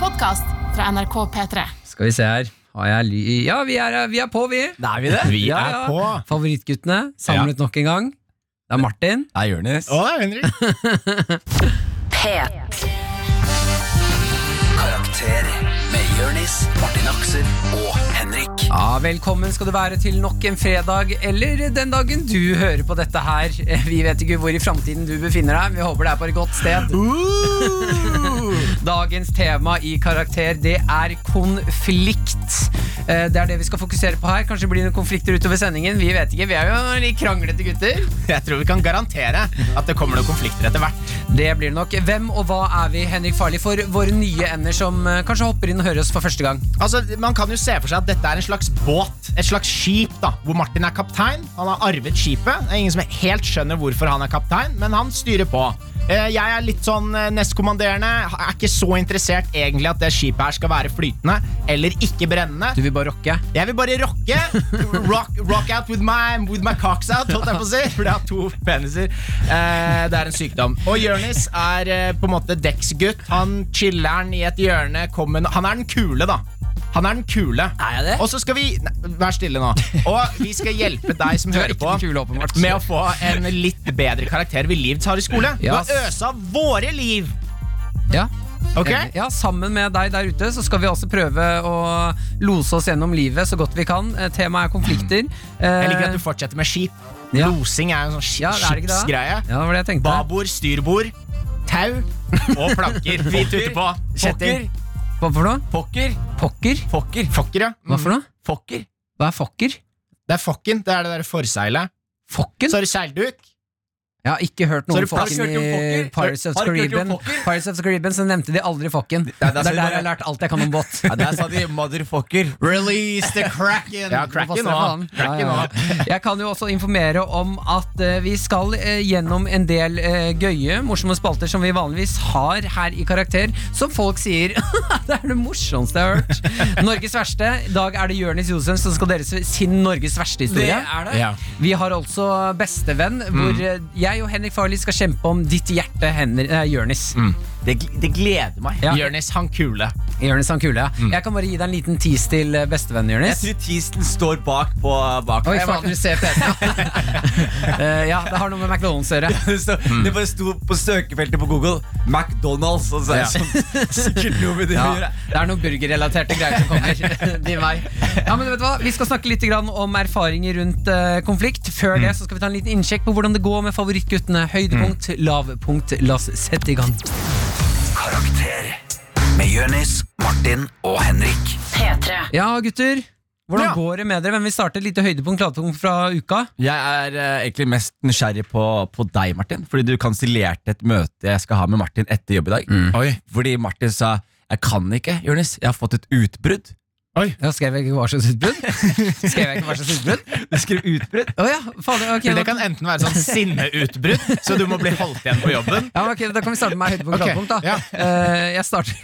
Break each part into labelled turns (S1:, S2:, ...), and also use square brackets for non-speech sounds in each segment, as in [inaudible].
S1: podkast fra NRK P3.
S2: Skal vi se her. Har jeg ly ja, vi er, vi er på, [laughs] vi.
S3: Er vi det?
S4: Vi
S2: Ja,
S4: er
S2: ja.
S4: på.
S2: Favorittguttene samlet nok en gang. Det er Martin.
S3: Det er Jonis.
S4: Å, det er Henrik.
S5: Karakter med Jørnis, Martin Aksel og Henrik.
S2: Ja, Velkommen skal du være til nok en fredag, eller den dagen du hører på dette her. [laughs] Vi vet ikke hvor i framtiden du befinner deg, men vi håper det er på et godt sted. Dagens tema i Karakter, det er konflikt. Eh, Det er det vi skal fokusere på her. Kanskje det blir noen konflikter utover sendingen. Vi vet ikke, vi er jo litt kranglete gutter.
S4: [laughs] Jeg tror vi kan garantere at det kommer noen konflikter etter hvert.
S2: Det blir det nok. Hvem og hva er vi, Henrik Farli, for våre nye ender som eh, kanskje hopper inn og hører oss for første gang?
S4: Altså, Man kan jo se for seg at dette er en slags båt, et slags skip, da, hvor Martin er kaptein. Han har arvet skipet. Det er ingen som helt skjønner hvorfor han er kaptein, men han styrer på. Eh, Jeg er litt sånn eh, nestkommanderende. Er ikke så interessert egentlig at det skipet her skal være flytende eller ikke brennende.
S2: Du vil bare rocke?
S4: Jeg vil bare rocke. Rock, rock out with my, with my cocks out, holdt jeg på å si. For det har to peniser. Eh, det er en sykdom. Og Jonis er eh, på en måte dekksgutt. Han chiller'n i et hjørne. Kommer, nå- han er den kule, da. Han er den kule.
S2: Er jeg det?
S4: Og så skal vi nei, Vær stille nå. Og vi skal hjelpe deg som
S2: Du er
S4: hører
S2: ikke
S4: på,
S2: den kule, åpenbart.
S4: med å få en litt bedre karakter ved livets harde skole. Ved
S2: Ja,
S4: å øse av våre liv.
S2: Ja.
S4: Ok?
S2: Enig. Ja, Sammen med deg der ute så skal vi også prøve å lose oss gjennom livet så godt vi kan. Eh, Temaet er konflikter.
S4: Jeg liker at du fortsetter med skip.
S2: Ja.
S4: Losing er jo en sånn skip-
S2: ja, det er ikke det?
S4: skipsgreie.
S2: Eh, Ja, det var det jeg tenkte.
S4: Babord, styrbord, tau og [laughs] planker. Vi tuter på. Kjetting.
S2: Hva for noe?
S3: Pokker.
S2: Pokker?
S3: Pokker.
S4: Fokker, ja. Mm.
S2: Hva for noe?
S3: Fokker.
S2: Hva er fokker?
S4: Det er fokken. Det er det der forseilet.
S2: Fokken?
S4: Så har du seilduk.
S2: Jeg har ikke hørt
S4: Så
S2: noe
S4: har
S2: om
S4: du- har du
S2: fokken
S3: hørt om
S2: i
S3: fokker?
S2: Pirates of
S3: Har du ikke hørt om
S2: Caribbean.
S3: fokker?
S2: Pirates of Caribbean så nevnte de aldri fokken. Det
S3: er
S2: er
S3: der
S2: der
S3: vi bare-
S2: jeg har lært alt jeg kan om båt.
S3: Ja, der sa de [laughs] motherfucker.
S4: Release the Kraken. Ja, Kraken
S2: Hva faen?
S4: nå.
S2: Ja,
S4: Kraken
S2: ja,
S4: nå.
S2: ja. Jeg kan jo også informere om at eh, vi skal eh, gjennom en del eh, gøye, morsomme spalter som vi vanligvis har her i Karakter, som folk sier [laughs] Det er det morsomste jeg har hørt. Norges verste. I dag er det Jonis Josen som skal dele sin Norges verste historie.
S4: Ja.
S2: Vi har altså Bestevenn,
S4: Mm.
S2: hvor eh, jeg og Henrik Farley skal kjempe om ditt hjerte, Henri- eh, Jonis.
S4: Mm.
S3: Det, gl- det gleder meg.
S2: Ja.
S4: Jonis, han kule.
S2: Jonis han kule. ja.
S4: Mm.
S2: Jeg kan bare gi deg en liten tease til eh, bestevenn,
S3: Jeg
S2: Jonis.
S3: tror Tisten står bak på bak.
S2: Oi,
S3: Jeg
S2: faen,
S3: bare-
S2: du ser PC-en. [laughs] Eh, ja, det har noe med McDonald's å gjøre.
S3: [laughs] Det sto- Det bare sto på søkefeltet på Google McDonald's. Og så er det sånn, sikkert noe med det å
S2: Ja,
S3: gjøre.
S2: det er noen burgerrelaterte greier som kommer [laughs] din vei. Ja, men vet du hva? Vi skal snakke litt grann om erfaringer rundt eh, konflikt. Før det så skal vi ta en liten innsjekk på hvordan det går med favorittguttene. Høydepunkt, lavpunkt. La oss sette i gang.
S5: Karakter med Jørnis, Martin og Henrik.
S2: Ja, gutter. Hvordan
S4: Ja.
S2: går det med dere? Hvem vil starte? Et lite høydepunkt, lavpunkt fra uka?
S3: Jeg er eh, egentlig mest nysgjerrig på, på deg, Martin. Fordi du kansellerte et møte jeg skal ha med Martin etter jobb i dag.
S4: Oi.
S3: Fordi Martin sa 'Jeg kan ikke, Jonis. Jeg har fått et utbrudd'.
S2: Ja, skrev jeg ikke hva slags [laughs] utbrudd? Skrev jeg ikke hva slags utbrudd?
S3: Du skrev 'utbrudd'.
S2: Å ja, fader. Ok,
S4: Det
S2: da,
S4: kan enten være sånn sinneutbrudd, så du må bli holdt igjen på jobben.
S2: ja, men ok, da kan vi starte med høydepunkt,
S4: Ok,
S2: lavpunkt. da
S4: ja.
S2: Eh, jeg, starter, [laughs]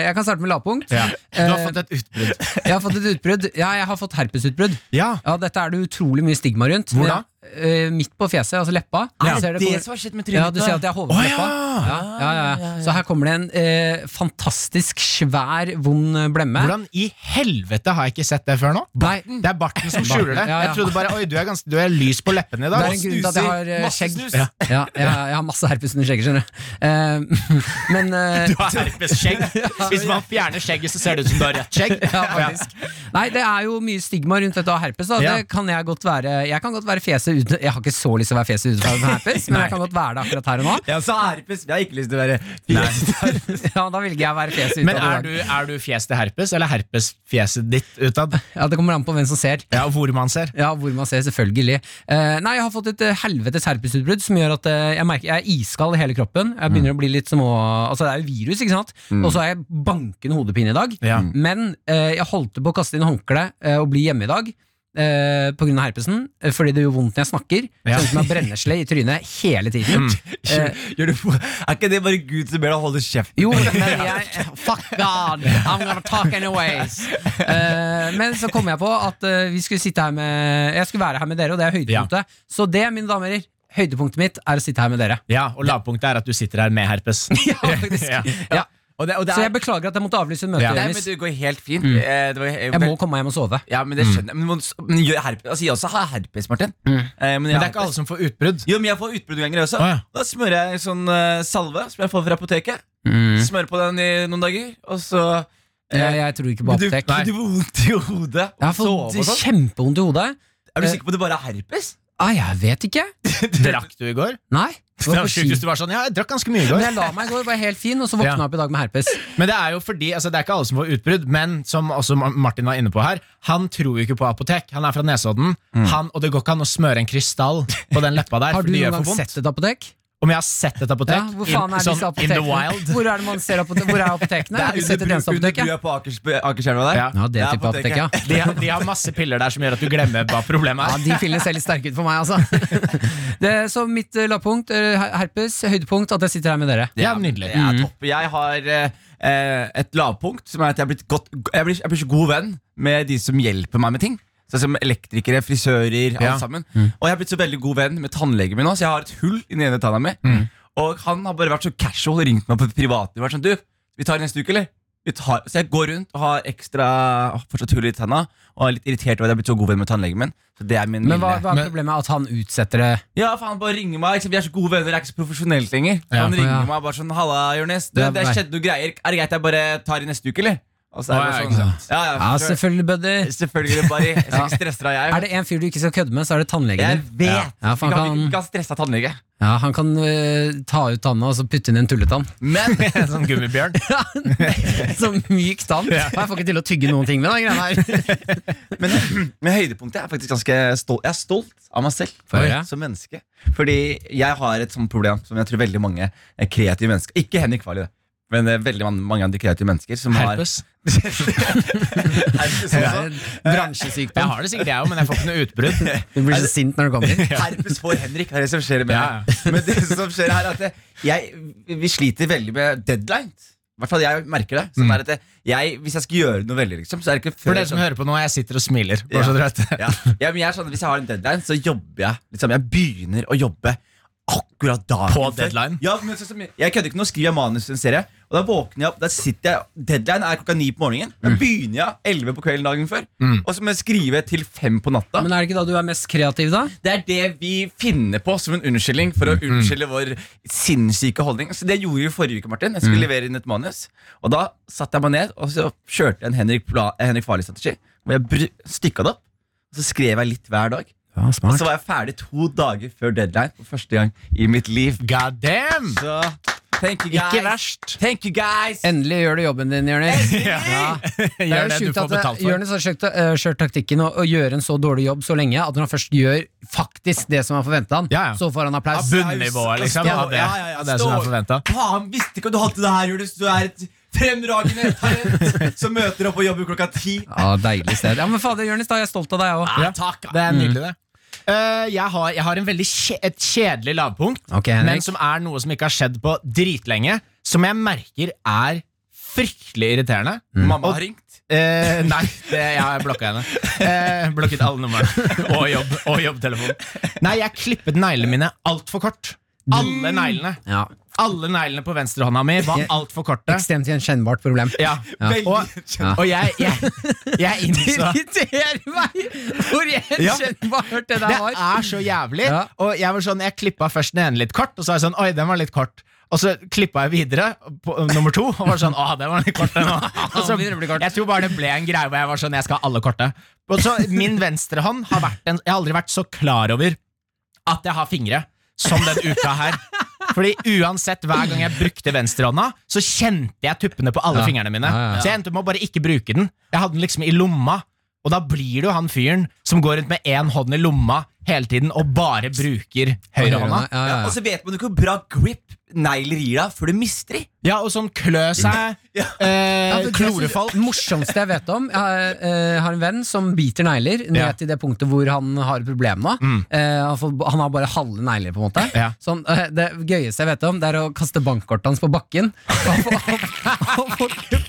S2: jeg kan starte med lavpunkt.
S4: Du har fått et utbrudd.
S2: Jeg har fått et utbrudd. Ja, jeg har fått herpesutbrudd.
S4: Ja.
S2: Ja, dette er det utrolig mye stigma rundt.
S4: Hvor da?
S2: Eh, midt på fjeset, altså leppa. Du ser kommer-
S3: har skjedd med
S2: ja, du ser at
S3: ditt?
S2: jeg har hodet på
S4: Å, ja!
S2: leppa. Ja, ja, ja, ja. Så her kommer det en eh, fantastisk svær, vond eh, blemme.
S4: Hvordan i helvete har jeg ikke sett det før nå?
S2: Nei,
S4: Det er barten som skjuler det.
S2: Ja, ja.
S4: Jeg trodde bare, oi, du er, ganske, du er lys på leppene i
S2: det
S4: dag.
S2: er en grunn til at jeg har eh,
S3: Masse
S2: skjegg.
S3: snus.
S2: Ja, ja, jeg, jeg har masse herpes under skjegget, skjønner du. Eh, [laughs] men eh,
S4: Du har herpesskjegg.
S2: [laughs]
S4: Hvis man fjerner skjegget, så ser det ut som du har rødt skjegg.
S2: ja, faktisk. Nei, det er jo mye stigma rundt dette å ha herpes. Da.
S4: Ja.
S2: Det kan jeg godt være Jeg kan godt være fjeset uten Jeg har ikke så lyst til å være fjeset utenfor med herpes,
S4: [laughs]
S2: men jeg kan godt være det akkurat her og nå.
S3: Jeg sa herpes. Jeg har ikke lyst til å være [laughs] Nei.
S2: Ja, da velger jeg å være fjeset
S4: Men
S2: utad. i
S4: er
S2: dag.
S4: du, er du fjes til herpes, eller herpes fjeset ditt utad?
S2: Ja, det kommer an på hvem som ser.
S4: Ja, og hvor man ser.
S2: Ja, hvor man ser, selvfølgelig. Eh, nei, jeg har fått et eh, helvetes herpesutbrudd som gjør at eh, jeg merker jeg er iskald i hele kroppen. Jeg begynner å bli litt små Altså, det er jo virus, ikke sant? Og så har jeg bankende hodepine i dag.
S4: Mm. Ja.
S2: Men eh, jeg holdt på å kaste inn håndkleet eh, og bli hjemme i dag. eh, på grunn av herpesen, eh, fordi det gjør vondt når jeg snakker.
S4: Ja. Mm.
S2: Sånn som jeg har brennesle i trynet hele tiden.
S3: Gjør du, er ikke det bare Gud som ber deg holde kjeft?
S2: Jo, men jeg Fuck God, I'm gonna talk anyways. Eh, men så kom jeg på at eh, vi skulle sitte her med jeg skulle være her med dere, og det er høydepunktet. Så det, mine damer og herrer, høydepunktet mitt er å sitte her med dere.
S4: [laughs] Ja, Og lavpunktet er at du sitter her med herpes.
S2: [laughs] Ja, faktisk.
S4: Ja.
S2: Ja.
S3: Og det, og det
S2: Så jeg
S3: er,
S2: beklager at jeg måtte avlyse møtet.
S3: nei,
S2: Jonis.
S3: men det går helt fint. Eh, det var,
S2: Jeg må Mm. komme hjem og sove.
S3: Ja, men det skjønner jeg. Men, man- men gjør herpes, altså, jeg også har herpes, Martin.
S2: Mm.
S3: Eh, men, jeg
S4: Men det
S3: har
S4: er ikke
S3: herpes.
S4: alle som får utbrudd.
S3: Jo, men jeg får utbrudd noen ganger også.
S4: Å, ja.
S3: Da smører jeg sånn eh, salve som jeg får fra apoteket.
S2: Mm.
S3: Smører på den i noen dager, og så eh,
S2: Jeg, jeg tror ikke på
S3: du,
S2: apotek.
S3: du får vondt i hodet.
S2: Jeg har
S3: Sove og
S2: fått
S3: sånn.
S2: kjempevondt i hodet.
S3: Er du sikker på at det bare er herpes?
S2: Ah, jeg vet ikke.
S4: Drakk du i går?
S2: Nei. Jeg
S4: Det
S2: var
S4: var
S2: på ski.
S4: sykehus du var sånn, ja, jeg drakk ganske mye i
S2: Men
S4: går.
S2: jeg la meg i går, var helt fin, og så våkna jeg
S4: Ja.
S2: opp i dag med herpes.
S4: Men det er jo fordi, altså det er ikke alle som får utbrudd, men som også Ma- Martin var inne på her, han tror jo ikke på apotek. Han er fra Nesodden, han, og det går ikke an å smøre en krystall på den leppa der,
S2: Mm. Har
S4: for
S2: du
S4: det
S2: noen
S4: gjør
S2: gang
S4: for vondt.
S2: sett et apotek?
S4: Om jeg har sett et apotek?
S2: Ja, hvor faen
S4: in,
S2: er disse
S4: sånn, in the
S2: apotekene?
S4: wild?
S2: Hvor er det man ser apotek? Hvor er apotekene? Jeg har ikke sett et
S3: bru-
S2: eneste apotek. jeg.
S3: brua på Akers- Akerselva der?
S4: Ja.
S2: Ja, det
S3: er
S2: type apotek, ja.
S4: De har, de har masse piller der som gjør at du glemmer hva problemet
S2: Ja,
S4: er.
S2: De filene ser litt sterke ut for meg,
S4: [laughs]
S2: altså. Det, så mitt eh, lavpunkt, eh, her- herpes, høydepunkt, at jeg sitter her med dere.
S4: Det er nydelig.
S3: Det er topp. Jeg har eh, eh, et lavpunkt som er at jeg, er blitt godt, jeg, blir, jeg blir så god venn med de som hjelper meg med ting. Sånn som elektrikere, frisører,
S4: Ja.
S3: alt sammen. Og jeg er blitt så veldig god venn med tannlegen min nå, så jeg har et hull i den ene tanna mi. Og han har bare vært så casual og ringt meg på privatnivå. vært Sånn, du, vi tar det neste uke, eller? Vi tar, så jeg går rundt og har ekstra har fortsatt hull i tanna og er litt irritert over at jeg er blitt så god venn med tannlegen min. Så det er min
S2: Men hva,
S3: lille-
S2: hva er
S4: Men-
S2: problemet? At han utsetter det?
S3: ja, for han bare ringer meg. ikke sant? Vi er så gode venner, det er ikke så profesjonelt lenger. Så
S4: Ja.
S3: han ringer
S2: Ja.
S3: meg bare sånn 'Halla, Jonis. Det,
S2: Det er
S3: det
S2: meg.»
S3: skjedde noe greier. Er det greit jeg bare tar i neste uke, eller?' Og så
S4: Å,
S3: er det
S4: ja,
S3: bare
S4: ikke
S3: sånn.
S4: sant.
S3: Ja, ja,
S2: Ja,
S3: selvfølgelig.
S2: selvfølgelig, buddy.
S3: Selvfølgelig,
S2: [laughs]
S3: bare Jeg skal ikke stresse deg,
S2: Er
S3: jeg.
S2: det en fyr du ikke skal kødde med, så er det tannlegen
S3: Jeg
S2: din.
S3: vet!
S2: Ja, for
S3: vi
S2: han
S3: kan, vi
S2: kan,
S3: kan stresse tannlege.
S2: ja, han kan eh, ta ut tanna og så putte inn en tulletann. [laughs]
S3: Men
S4: sånn gummibjørn.
S2: så myk tann. Og jeg får ikke til å tygge noen ting med den greia her.
S3: Men, men [clears throat] høydepunktet er faktisk ganske stolt. Jeg er stolt av meg selv
S2: Få høre.
S3: som menneske. Fordi jeg har et sånt problem som jeg tror veldig mange eh, kreative mennesker Ikke Henrik Farley, det, men eh, veldig man- mange andre kreative mennesker som
S4: Herpes.
S3: har
S2: [laughs]
S3: Herpes
S2: Det er
S3: også.
S2: en
S4: Jeg
S2: Bransjesykdom.
S4: har det sikkert jeg òg, men jeg får ikke noe utbrudd.
S2: Du blir
S3: Altså-
S2: så sint når du kommer
S4: [laughs]
S2: hit.
S3: Herpes for Henrik, det er det som skjer med
S4: Ja,
S3: meg. Men det som skjer her, er at det- jeg, vi sliter veldig med deadlines. I hvert fall jeg merker det. Sånn er at det- jeg, hvis jeg skal gjøre noe veldig, liksom, så er det ikke før
S4: Mm. For dere som
S3: sånn-
S4: hører på nå, jeg sitter og smiler. Bare
S3: Ja.
S4: så dere vet det.
S3: ja. Ja, men jeg er sånn, Hvis jeg har en deadline, så jobber jeg. Liksom, jeg begynner å jobbe akkurat da.
S4: På deadline?
S3: Ja, men sånn som jeg jeg kødder ikke nå. Skriver jeg manus til en serie, og da våkner jeg opp Der sitter jeg, Deadline er klokka ni på morgenen. Da
S4: Mm.
S3: begynner jeg elleve på kvelden dagen før. Og så må jeg skrive til fem på natta.
S2: Men er det ikke da du er mest kreativ, da?
S3: Det er det vi finner på som en unnskyldning for
S4: Mm,
S3: å unnskylde vår sinnssyke holdning. Så Det gjorde vi forrige uke, Martin. Jeg skulle
S4: Mm.
S3: levere inn et manus. Og da satte jeg meg ned og så kjørte jeg en Henrik, Pla- eh, Henrik Farley-strategi. Hvor jeg stykka det opp, og så skrev jeg litt hver dag.
S2: Ja,
S3: Og så var jeg ferdig to dager før deadline for første gang i mitt liv.
S4: God damn! [laughs]
S3: Så thank you guys.
S4: Ikke verst.
S3: Thank you guys.
S2: Endelig gjør du jobben din,
S4: [laughs]
S2: Jonis. [laughs] Ja. Det er
S4: Gjør
S2: jo
S4: det du
S2: sjukt
S4: får
S2: at eh,
S4: betalt for.
S2: Jonis har kjørt, eh, kjørt taktikken å, å gjøre en så dårlig jobb så lenge at når han først gjør faktisk det som er forventa han,
S4: Ja, ja.
S2: så får han applaus.
S4: Bunnivået, liksom.
S2: Ja,
S4: Av det,
S3: ja, ja, ja.
S4: av det som er
S3: Stå-
S4: forventa.
S3: Faen, visste ikke at du hadde det her, Julius. Du er et
S4: [laughs]
S3: fremragende talent som møter opp og jobber klokka ti.
S2: Ja, deilig sted. Ja, men fader, Jonis, da er jeg stolt av deg òg.
S4: Ja, Det er nydelig, det. Eh, jeg, har, jeg har en veldig kje, et kjedelig lavpunkt,
S2: Ok, Henrik.
S4: men som er noe som ikke har skjedd på dritlenge, som jeg merker er fryktelig irriterende.
S3: Mamma har ringt.
S4: Eh, nei, det, jeg har blokka henne. Eh, blokket alle numrene. [laughs] Og, jobb, og jobbtelefon. Nei, jeg klippet neglene mine altfor kort. Alle neglene
S2: Ja.
S4: Alle neglene på venstrehånda mi var altfor korte.
S2: Ekstremt gjenkjennbart problem.
S4: Ja.
S3: Veldig
S4: Og,
S2: Ja. [laughs]
S4: og jeg, jeg, jeg innså
S2: irriterer meg hvor gjenkjennbart det der
S4: Det
S2: var.
S4: er så jævlig.
S2: Ja.
S4: Og jeg var sånn, jeg klippa først den ene litt kort, og så var jeg sånn, oi, den var litt kort. Og så klippa jeg videre på uh, nummer to, og var sånn, å, den var litt kort.
S2: [laughs]
S4: Den også. Og så,
S2: begynner det å bli kort.
S4: jeg tror bare det ble en greie hvor jeg var sånn, jeg skal ha alle korte. Og så min venstre hånd har vært en, jeg har aldri vært så klar over at jeg har fingre som den uka her. Fordi uansett Hver gang jeg brukte venstrehånda, så kjente jeg tuppene på alle
S2: Ja.
S4: fingrene mine.
S2: Ja, ja, ja.
S4: Så jeg endte opp med å bare ikke bruke den. Jeg hadde den liksom i lomma. Og da blir du han fyren som går rundt med én hånd i lomma hele tiden og bare bruker høyrehånda.
S2: Ja, ja,
S3: Ja, og
S2: ja.
S3: så vet man jo ikke hvor bra grip negler gir deg før du mister de.
S4: Ja, og sånn klø seg,
S3: Ja.
S2: Ja,
S4: [laughs] eh,
S2: men det er så-
S4: klorefall.
S2: morsomste jeg vet om. Jeg har, eh, har en venn som biter negler ned
S4: Ja. Mm.
S2: til det punktet hvor han har et problem nå. Eh, han, får, han har bare halve negler, på en måte.
S4: Ja.
S2: Sånn, eh, det gøyeste jeg vet om, det er å kaste bankkortet hans på
S4: [laughs]
S2: bakken. Han får, han, han får, han får, ikke-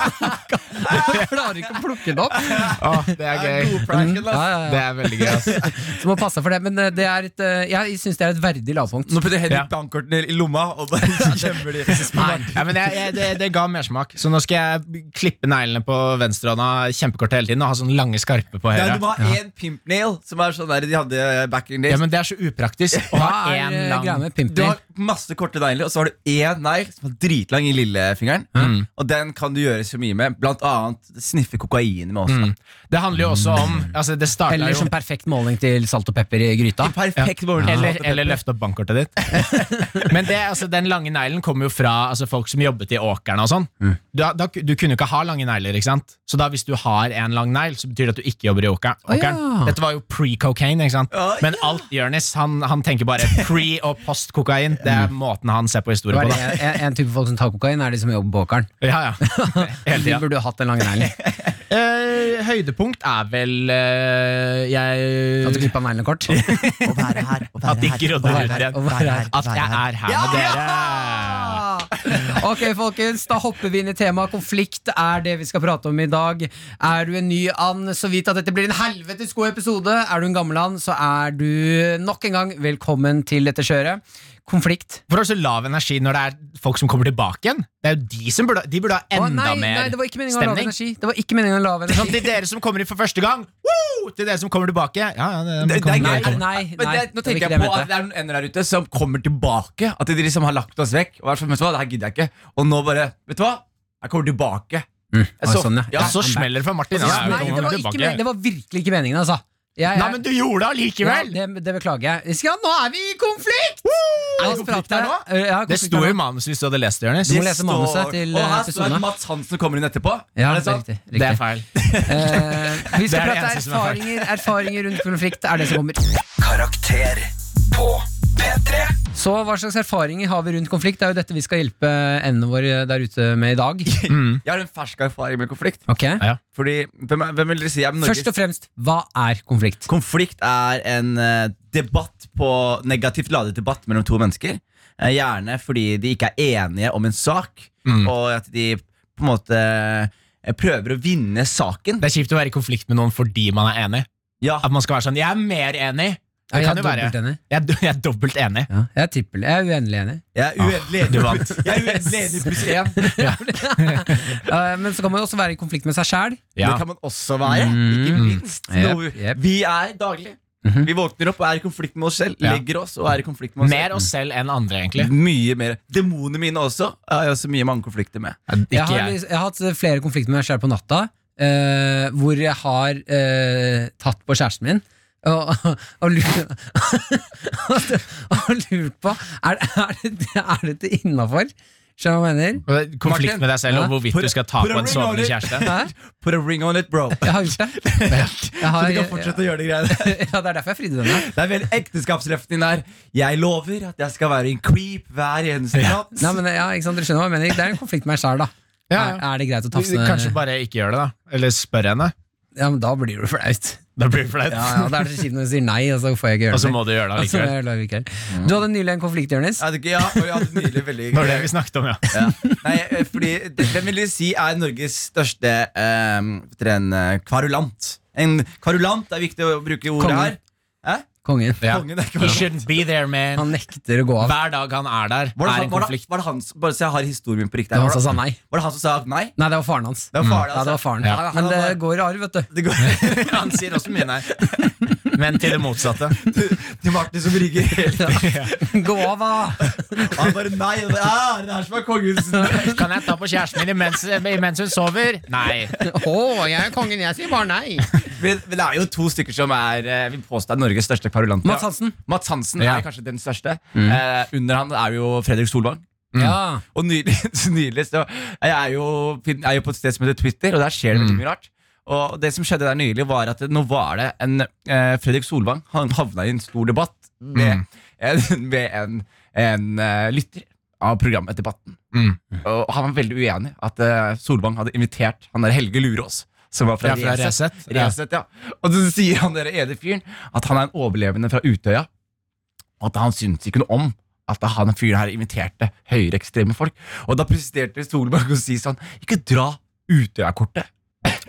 S2: han klarer klarer ikke å plukke det opp. Mm.
S4: Åh, Ah, det er gøy.
S2: Ja, ja, ja.
S4: Det er veldig gøy, ass.
S2: [laughs] Så må passe for det. Men eh, det er et, eh, jeg syns det er et verdig lavpunkt.
S3: Nå putter Henrik
S4: Ja.
S3: bankkortene i lomma og bare gjemmer [laughs] de.
S4: Ja, men jeg, jeg, det, det ga mersmak. Så nå skal jeg klippe neglene på venstrehånda kjempekorte hele tiden og ha sånne lange skarpe på
S3: Ja, du
S4: høyre.
S3: må ha én pimp nail, som er sånn der de hadde back in days.
S4: Ja, men det er så upraktisk å ha
S2: Hva er
S4: én
S2: eh, greia
S4: lang
S2: med pimp
S3: Du
S2: nail?
S3: har masse korte negler, og så har du én negl som er dritlang i lillefingeren. Og den kan du gjøre så mye med. Blant annet sniffe kokain med også.
S4: Det handler jo også om altså det startet
S2: Eller
S4: jo,
S2: som perfekt måling til salt og pepper i gryta.
S3: Perfekt morgen.
S4: eller, eller løfte opp bankkortet ditt. [laughs] Men det, altså, den lange neglen kommer jo fra altså, folk som jobbet i åkeren og sånn.
S2: Mm.
S4: Du, har- da, du kunne jo ikke ha lange negler, ikke sant? Så da hvis du har en lang negl, så betyr det at du ikke jobber i åka- åkeren.
S2: ja.
S4: Dette var jo pre-cocaine, ikke sant?
S3: Ja,
S4: Men
S3: ja.
S4: alt Jonis, han, han tenker bare pre- og post-kokain. Det er måten han ser på
S2: Mm. Det
S4: historie
S2: var
S4: på,
S2: det.
S4: da.
S2: En, en type folk som tar kokain, er de som jobber på åkeren.
S4: Ja,
S2: [laughs]
S4: ja.
S2: De
S4: Hele tida.
S2: burde jo hatt den lange
S6: [laughs]
S2: neglen.
S4: Eh, høydepunkt er vel eh,
S2: At du
S4: jeg
S2: klippa neglene kort.
S6: Å være her, å
S4: At
S6: være
S4: de
S6: her,
S4: grodde
S6: å være
S4: ut
S6: her,
S4: igjen.
S6: å være her,
S4: At
S6: være
S4: jeg
S6: her.
S4: er her med dere.
S2: Ok, folkens, da hopper vi inn i temaet. Konflikt er det vi skal prate om i dag. Er du en ny and, så vidt at dette blir en helvetes god episode. Er du en gammel and, så er du nok en gang velkommen til dette kjøret. Konflikt.
S4: For det er så lav energi når det er folk som kommer tilbake igjen. Det er jo de som burde, de burde ha enda
S2: Å, nei,
S4: mer
S2: nei, det var ikke meningen å ha lav
S4: stemning.
S2: energi. Det var ikke meningen å ha lav
S4: Sånn
S2: energi.
S4: til dere som kommer inn for første gang, woo! til dere som kommer tilbake. Ja, ja, det,
S3: Det- det er
S4: kommer-
S3: gøy.
S2: Nei,
S4: kommer.
S2: nei,
S3: Men
S2: nei.
S3: det, nå
S2: det var
S3: tenker
S2: ikke
S3: jeg
S2: det
S3: på
S2: mente.
S3: at det er noen ender der ute som kommer tilbake. At de liksom har lagt oss vekk. Og vært sånn, vet du hva, det her gidder jeg ikke. Og nå bare Vet du hva? Jeg kommer tilbake. Jeg
S2: Oi, sånn, ja.
S4: Ja, så smeller det for Martin. Ja,
S2: Nei,
S4: kommer
S2: det var,
S4: tilbake.
S2: ikke, men- det var virkelig ikke meningen, altså. Jeg-
S4: Nei, men du gjorde det allikevel!
S2: Ja, det, det beklager jeg. Vi Skal, nå er vi i konflikt!
S4: Er
S2: La
S4: det
S2: oss
S4: konflikt
S2: prate.
S4: her nå?
S2: Uh, ja,
S4: Det
S2: konflikt
S4: sto
S2: her
S4: jo i
S2: nå.
S4: manuset hvis du hadde lest det, Jonis.
S2: Du må lese manuset til
S3: Og
S2: eh,
S3: her står det
S2: episodene.
S3: at Mats Hansen kommer inn etterpå.
S2: Ja,
S3: er det sant?
S2: riktig, riktig.
S4: Det er feil.
S2: Eh, vi skal
S4: [laughs] Det er det
S2: prate
S4: eneste som er feil.
S2: erfaringer, erfaringer rundt konflikt. er det som kommer
S5: Karakter på P3.
S2: Så hva slags erfaringer har vi rundt konflikt? Det er jo dette vi skal hjelpe endene våre der ute med i
S4: [laughs]
S2: dag. Mm.
S3: Jeg har en fersk erfaring med konflikt.
S2: Ok?
S3: Fordi, hvem, er- hvem vil dere si er Norges
S2: Først og fremst, hva er konflikt?
S3: Konflikt er en eh, debatt på negativt ladet debatt mellom to mennesker. Eh, gjerne fordi de ikke er enige om en sak,
S2: Mm.
S4: Mm.
S3: og at de på en måte eh, prøver å vinne saken.
S4: Det er kjipt å være i konflikt med noen fordi man er enig.
S3: Ja,
S4: At man skal være sånn 'jeg er mer enig'. Det
S2: Er
S4: kan
S2: jeg
S4: jo være
S2: dobbelt enig?
S4: jeg er, do- jeg er dobbelt enig.
S2: Ja, jeg er trippel. Jeg er uendelig enig.
S3: jeg er uendelig
S4: Ah, Du
S3: enig.
S4: vant.
S3: [laughs] Jeg er uendelig enig pluss
S2: [laughs]
S3: én.
S2: Eh, men så kan man jo også være i konflikt med seg sjæl.
S4: Ja. Mm.
S3: Det kan man også være. Ikke minst.
S2: Jep,
S3: Noe-
S2: jep.
S3: Vi er daglig. Vi våkner opp og er i konflikt med oss selv.
S4: Mhm. Ja.
S3: Legger oss og er i konflikt med oss
S4: Mer oss selv enn andre, egentlig.
S3: selv. Mye mer. Demonene mine også har jeg også mye mange konflikter med.
S4: Ikke
S2: jeg, har,
S4: jeg.
S2: liksom- jeg har hatt flere konflikter med meg sjøl på natta, eh, hvor jeg har eh, tatt på kjæresten min. Og, og, lurt, og lurt på Er, er, det, er dette innafor? Skjønner du hva jeg mener?
S4: Konflikt
S3: Martin,
S4: med deg selv
S2: ja.
S4: om hvorvidt
S3: For-
S4: du skal ta
S3: for
S4: på
S3: å
S4: en
S3: ringe
S4: sovende
S3: over.
S4: kjæreste.
S2: Hæ?
S3: Put a ring on
S4: [laughs]
S3: it, bro.
S2: Jeg har gjort det. Jeg
S3: Så
S2: har,
S3: du kan fortsette å gjøre de greiene.
S2: ja, det er derfor jeg fridde denne.
S3: [laughs] Det er veldig ekteskapsløften din her. Jeg lover at jeg skal være en creep hver eneste natt.
S2: Nei, men, ja, ikke sant? Dere skjønner hva jeg mener? Det er en konflikt med meg sjæl, da.
S4: Ja,
S2: Er,
S4: ja.
S2: er det greit å tafse
S4: Kanskje bare ikke gjør det, da. Eller spør henne.
S2: Ja, men Da blir det jo flaut.
S4: Da blir det flaut.
S2: Ja, ja, det er så kjipt når du sier nei, og så får jeg ikke gjøre
S4: [laughs] Og så
S2: det.
S4: må du gjøre det
S2: Og så må
S4: likevel.
S2: jeg gjøre det likevel. Du hadde nylig en konflikt, Jonis.
S3: Jeg hadde ikke, ja, og jeg hadde nylig veldig
S4: Det var det vi snakket om, ja.
S3: ja. Nei, eh, fordi det- Hvem vil du si er Norges største eh, vet dere, en eh, kvarulant? En kvarulant, det er viktig å bruke ordet
S2: Kongen.
S3: her. Hæ?
S2: Kongen.
S4: [laughs] ja.
S3: Kongen det er
S4: He
S3: kvarulant.
S4: shouldn't be there, man.
S2: Han nekter å gå av.
S4: Hver dag han er der,
S3: Var det,
S4: er
S3: han,
S4: en
S3: var, det,
S4: konflikt.
S3: var det han som Bare så jeg har historien min på riktig.
S2: Det
S3: her.
S2: var han som
S3: Var
S2: sa
S3: det,
S2: nei.
S3: var det han som sa nei?
S2: Nei, det var faren hans.
S3: Det var faren,
S2: Ja, det var
S3: altså.
S2: faren.
S4: Ja.
S2: Men det går i arv, vet du. [laughs]
S3: Det går
S4: Han sier også mye nei. Men til det motsatte.
S3: til Martin som rigger helt.
S2: Gå av, da!
S3: Han bare nei. Og det, ah, det er det her som er kongens
S4: Kan jeg ta på kjæresten min imens, imens hun sover? Nei.
S2: Å, jeg er kongen, jeg sier bare nei.
S3: Men, men det er jo to stykker som er eh, vil påstå er Norges største kvarulant.
S2: Mads Hansen.
S3: Mats Hansen
S4: Ja.
S3: er kanskje den største. Eh, under han er jo Fredrik Solvang.
S2: Ja.
S3: Og nylig, [laughs] så nylig så jeg er jo, jeg er jo på et sted som heter Twitter, og der skjer det veldig
S4: Mm.
S3: mye rart. Og det som skjedde der nylig, var at nå var det en eh, Fredrik Solvang Han havna i en stor debatt
S4: Mm.
S3: med, en, [laughs] med en, en eh, lytter av programmet Debatten.
S4: Mm.
S3: Og han var veldig uenig at eh, Solvang hadde invitert han der Helge Lurås, som var fra,
S4: Ja, fra
S3: Resett.
S4: Resett. Ja.
S3: Resett, ja. Og så sier han der ene fyren at han er en overlevende fra Utøya. Og at han syntes ikke noe om at han fyren her inviterte høyreekstreme folk. Og da presterte Solberg å si sånn Ikke dra Utøya-kortet.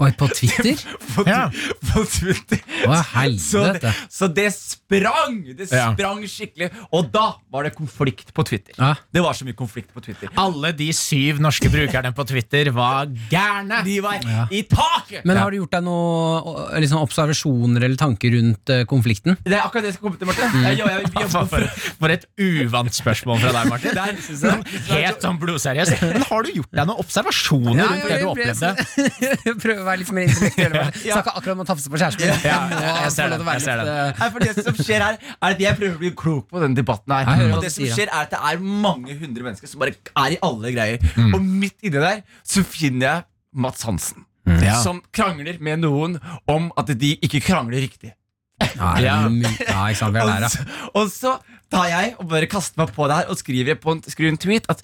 S6: Oi, på Twitter?
S3: på,
S4: Ja.
S3: på Twitter.
S6: Å,
S3: Så det,
S6: helvete.
S3: så det sprang! Det
S4: Ja.
S3: sprang skikkelig. Og da var det konflikt på Twitter.
S6: Ja.
S3: Det var så mye konflikt på Twitter.
S4: Alle de syv norske brukerne på Twitter var gærne.
S3: De var i taket!
S2: Men har du gjort deg noen liksom, observasjoner eller tanker rundt eh, konflikten?
S3: Det er akkurat det jeg skal komme til, Marte. Jeg, jeg, jeg,
S4: [laughs]
S3: jeg,
S4: For, for et uvant spørsmål fra deg, Martin.
S3: der, synes jeg,
S4: Helt sånn blodseriøst. Men har du gjort deg noen observasjoner rundt det du opplevde?
S2: [laughs] Prøve å være litt mer intellektuell. ja.
S4: [laughs]
S2: Snakka akkurat om å tafse på kjæresten. min.
S4: Ja,
S2: Jeg må
S4: jeg- jeg ser
S2: få lov
S4: det,
S2: til å være
S4: jeg ser
S2: litt,
S4: det.
S2: eh,
S3: Nei, for det som skjer her Er at jeg prøver å bli klok på denne debatten her
S2: Jeg hører hva du
S3: Og det som
S2: sier, ja.
S3: skjer er at det er mange hundre mennesker Som bare er i alle greier
S2: Mm.
S3: Og midt inne der så finner jeg Mats Hansen
S2: Mm.
S4: Ja.
S3: Som krangler med noen om at de ikke krangler riktig
S6: Nei, det er mye- ja, ikke sant, vi er
S3: og
S6: der, ja.
S3: så, og så tar jeg og bare kaster meg på det her Og skriver på en, skriver en tweet at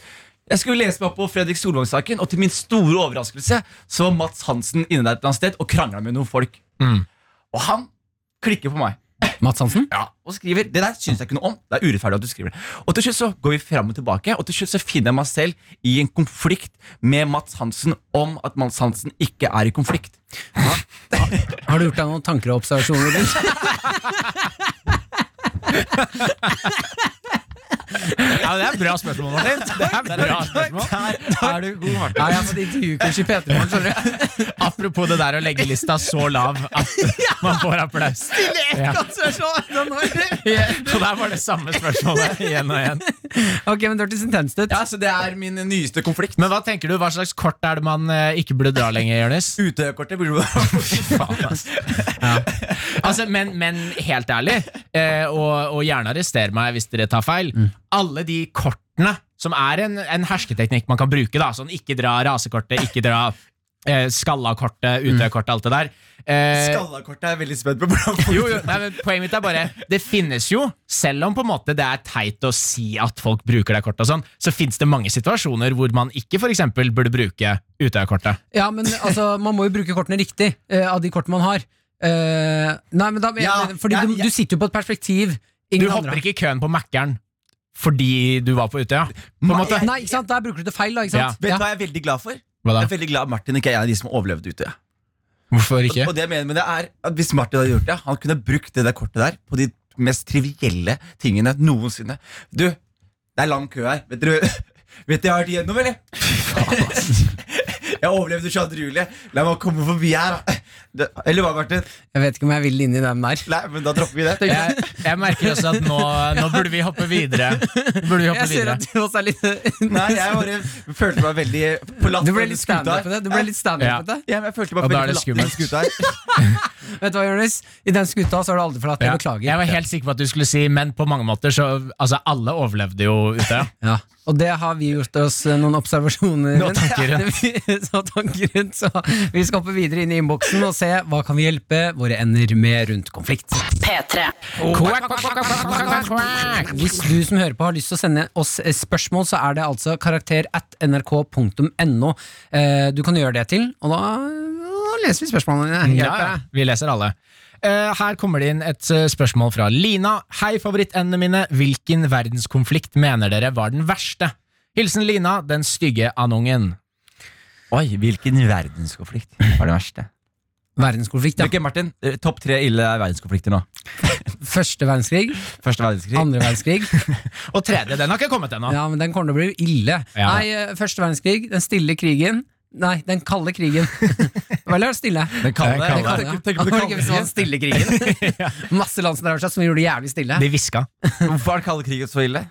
S3: jeg skulle lese meg opp på Fredrik Solvang-saken Og til min store overraskelse Så var Mats Hansen inne der et eller annet sted Og kranglet med noen folk
S2: Mm.
S3: Og han klikker på meg
S6: Mats Hansen?
S3: ja, og skriver Det der syns jeg ikke noe om. Det er urettferdig at du skriver det. Og til slutt så går vi fram og tilbake, og til slutt så finner jeg meg selv i en konflikt med Mats Hansen om at Mats Hansen ikke er i konflikt.
S6: Har du gjort deg noen tanker og observasjoner rundt?
S4: Ja, det er et bra spørsmål, Martin. Det er et bra
S3: [laughs]
S4: spørsmål.
S3: Er du god, Martin?
S2: Nei, jeg har fått intervjukurs i P3 Morgen, skjønner du. [laughs]
S4: Apropos det der å legge lista så lav at man får applaus. Ja.
S2: [laughs]
S4: Så der var det samme spørsmålet igjen og igjen.
S2: Ok, men det hørtes intenst ut.
S3: Ja, så det er min nyeste konflikt.
S4: Men hva tenker du, hva slags kort er det man eh, ikke burde dra lenger, Jonis?
S3: Utøyerkortet burde du
S4: Altså, men, men helt ærlig, eh, og, og gjerne arrester meg hvis dere tar feil, alle de kortene som er en, en hersketeknikk man kan bruke, da, sånn ikke dra rasekortet, ikke dra eh, skalla-kortet, Utøya-kortet, alt det der. [laughs] Eh,
S3: Skallakortet er veldig spent på hvordan
S4: jo, jo, nei, men Poenget mitt er bare Det finnes jo, selv om på en måte det er teit å si at folk bruker det kortet, og sånn, så finnes det mange situasjoner hvor man ikke for eksempel burde bruke Utøya-kortet.
S2: Ja, men altså, man må jo bruke kortene riktig eh, av de kortene man har. Eh, nei, men da
S3: Ja,
S2: Fordi
S3: jeg-
S2: du,
S3: jeg-
S2: du sitter jo på et perspektiv ingen
S4: Du hopper
S2: andre har.
S4: ikke i køen på Mækkern fordi du var på Utøya. På en måte.
S2: Nei, ikke sant? Der bruker du det feil, da. Ikke sant?
S3: Vet du
S2: Ja.
S3: hva jeg er veldig glad for?
S4: Hva da?
S3: Jeg er veldig glad Martin ikke er en av de som overlevde Utøya.
S4: Hvorfor ikke?
S3: Og det jeg mener med det er at Hvis Martin hadde gjort det, han kunne brukt det der kortet der på de mest trivielle tingene noensinne. Du, det er lang kø her. Vet dere [laughs] Vet dere jeg har vært igjennom, eller? [laughs] Jeg overlevde 22. juli. La meg komme forbi her, da. Det- Eller hva, Martin?
S2: Jeg vet ikke om jeg vil inn i den der.
S3: Nei, men da dropper vi det.
S4: Jeg, jeg merker også at nå, nå burde vi hoppe videre. Burde vi
S2: Jeg
S4: hoppe
S2: ser
S4: videre.
S2: at du også er litt
S3: [laughs] [laughs] Nei, jeg bare følte meg veldig forlatt.
S2: Du ble
S3: på den
S2: litt
S3: skuta her.
S2: standupete. Du ble litt
S4: Ja.
S2: standupete.
S3: Ja, men jeg følte
S4: Ja,
S3: meg
S4: da er
S3: veldig
S4: det
S3: forlatt på den skuta her.
S2: Vet du hva, Jonis? I den skuta så har du aldri forlatt.
S4: Ja.
S2: Jeg beklager.
S4: Jeg var helt sikker på at du skulle si, men på mange måter så Altså, alle overlevde jo Utøya.
S2: [laughs] Ja. Og det har vi gjort oss eh, noen observasjoner
S4: Noen
S2: [laughs]
S4: tanker
S2: rundt. Så tanker rundt. Så vi skal hoppe videre inn i innboksen og se hva kan vi hjelpe våre ender med rundt konflikt.
S1: P3.
S2: Oh,
S4: Quack, quack, quack, quack, quack, quack.
S2: Hvis du som hører på har lyst til å sende oss eh, spørsmål, så er det altså karakter at nrk.no eh, du kan gjøre det til, og da, da leser vi spørsmålene.
S4: Ja,
S2: Hjelper
S4: ja.
S2: deg.
S4: Vi leser alle. Eh, her kommer det inn et eh, spørsmål fra Lina. Hei, favorittendene mine. Hvilken verdenskonflikt mener dere var den verste? Hilsen Lina, den stygge andungen.
S3: Oi, hvilken verdenskonflikt var det verste?
S2: Verdenskonflikt, ja.
S3: Ok, Martin, eh, Topp tre ille verdenskonflikter nå.
S2: Første verdenskrig,
S3: Første verdenskrig.
S2: andre
S4: [laughs]
S2: verdenskrig.
S4: Og tredje, den har ikke kommet ennå.
S2: Ja, men den kommer til å bli ille.
S4: Ja.
S2: Nei, eh, første verdenskrig, den stille krigen. Nei, den kalde krigen. [laughs] Vel, det er stille.
S3: Den kalde.
S4: Den kalde,
S3: Tenk- tenk på
S2: Var det
S3: den kalde
S2: ikke hvis det var den
S3: krigen.
S2: stille
S4: [laughs]
S2: krigen. Masse land som drev seg som gjorde det jævlig stille.
S4: De hviska.
S3: Hvorfor er den kalde krigen så ille?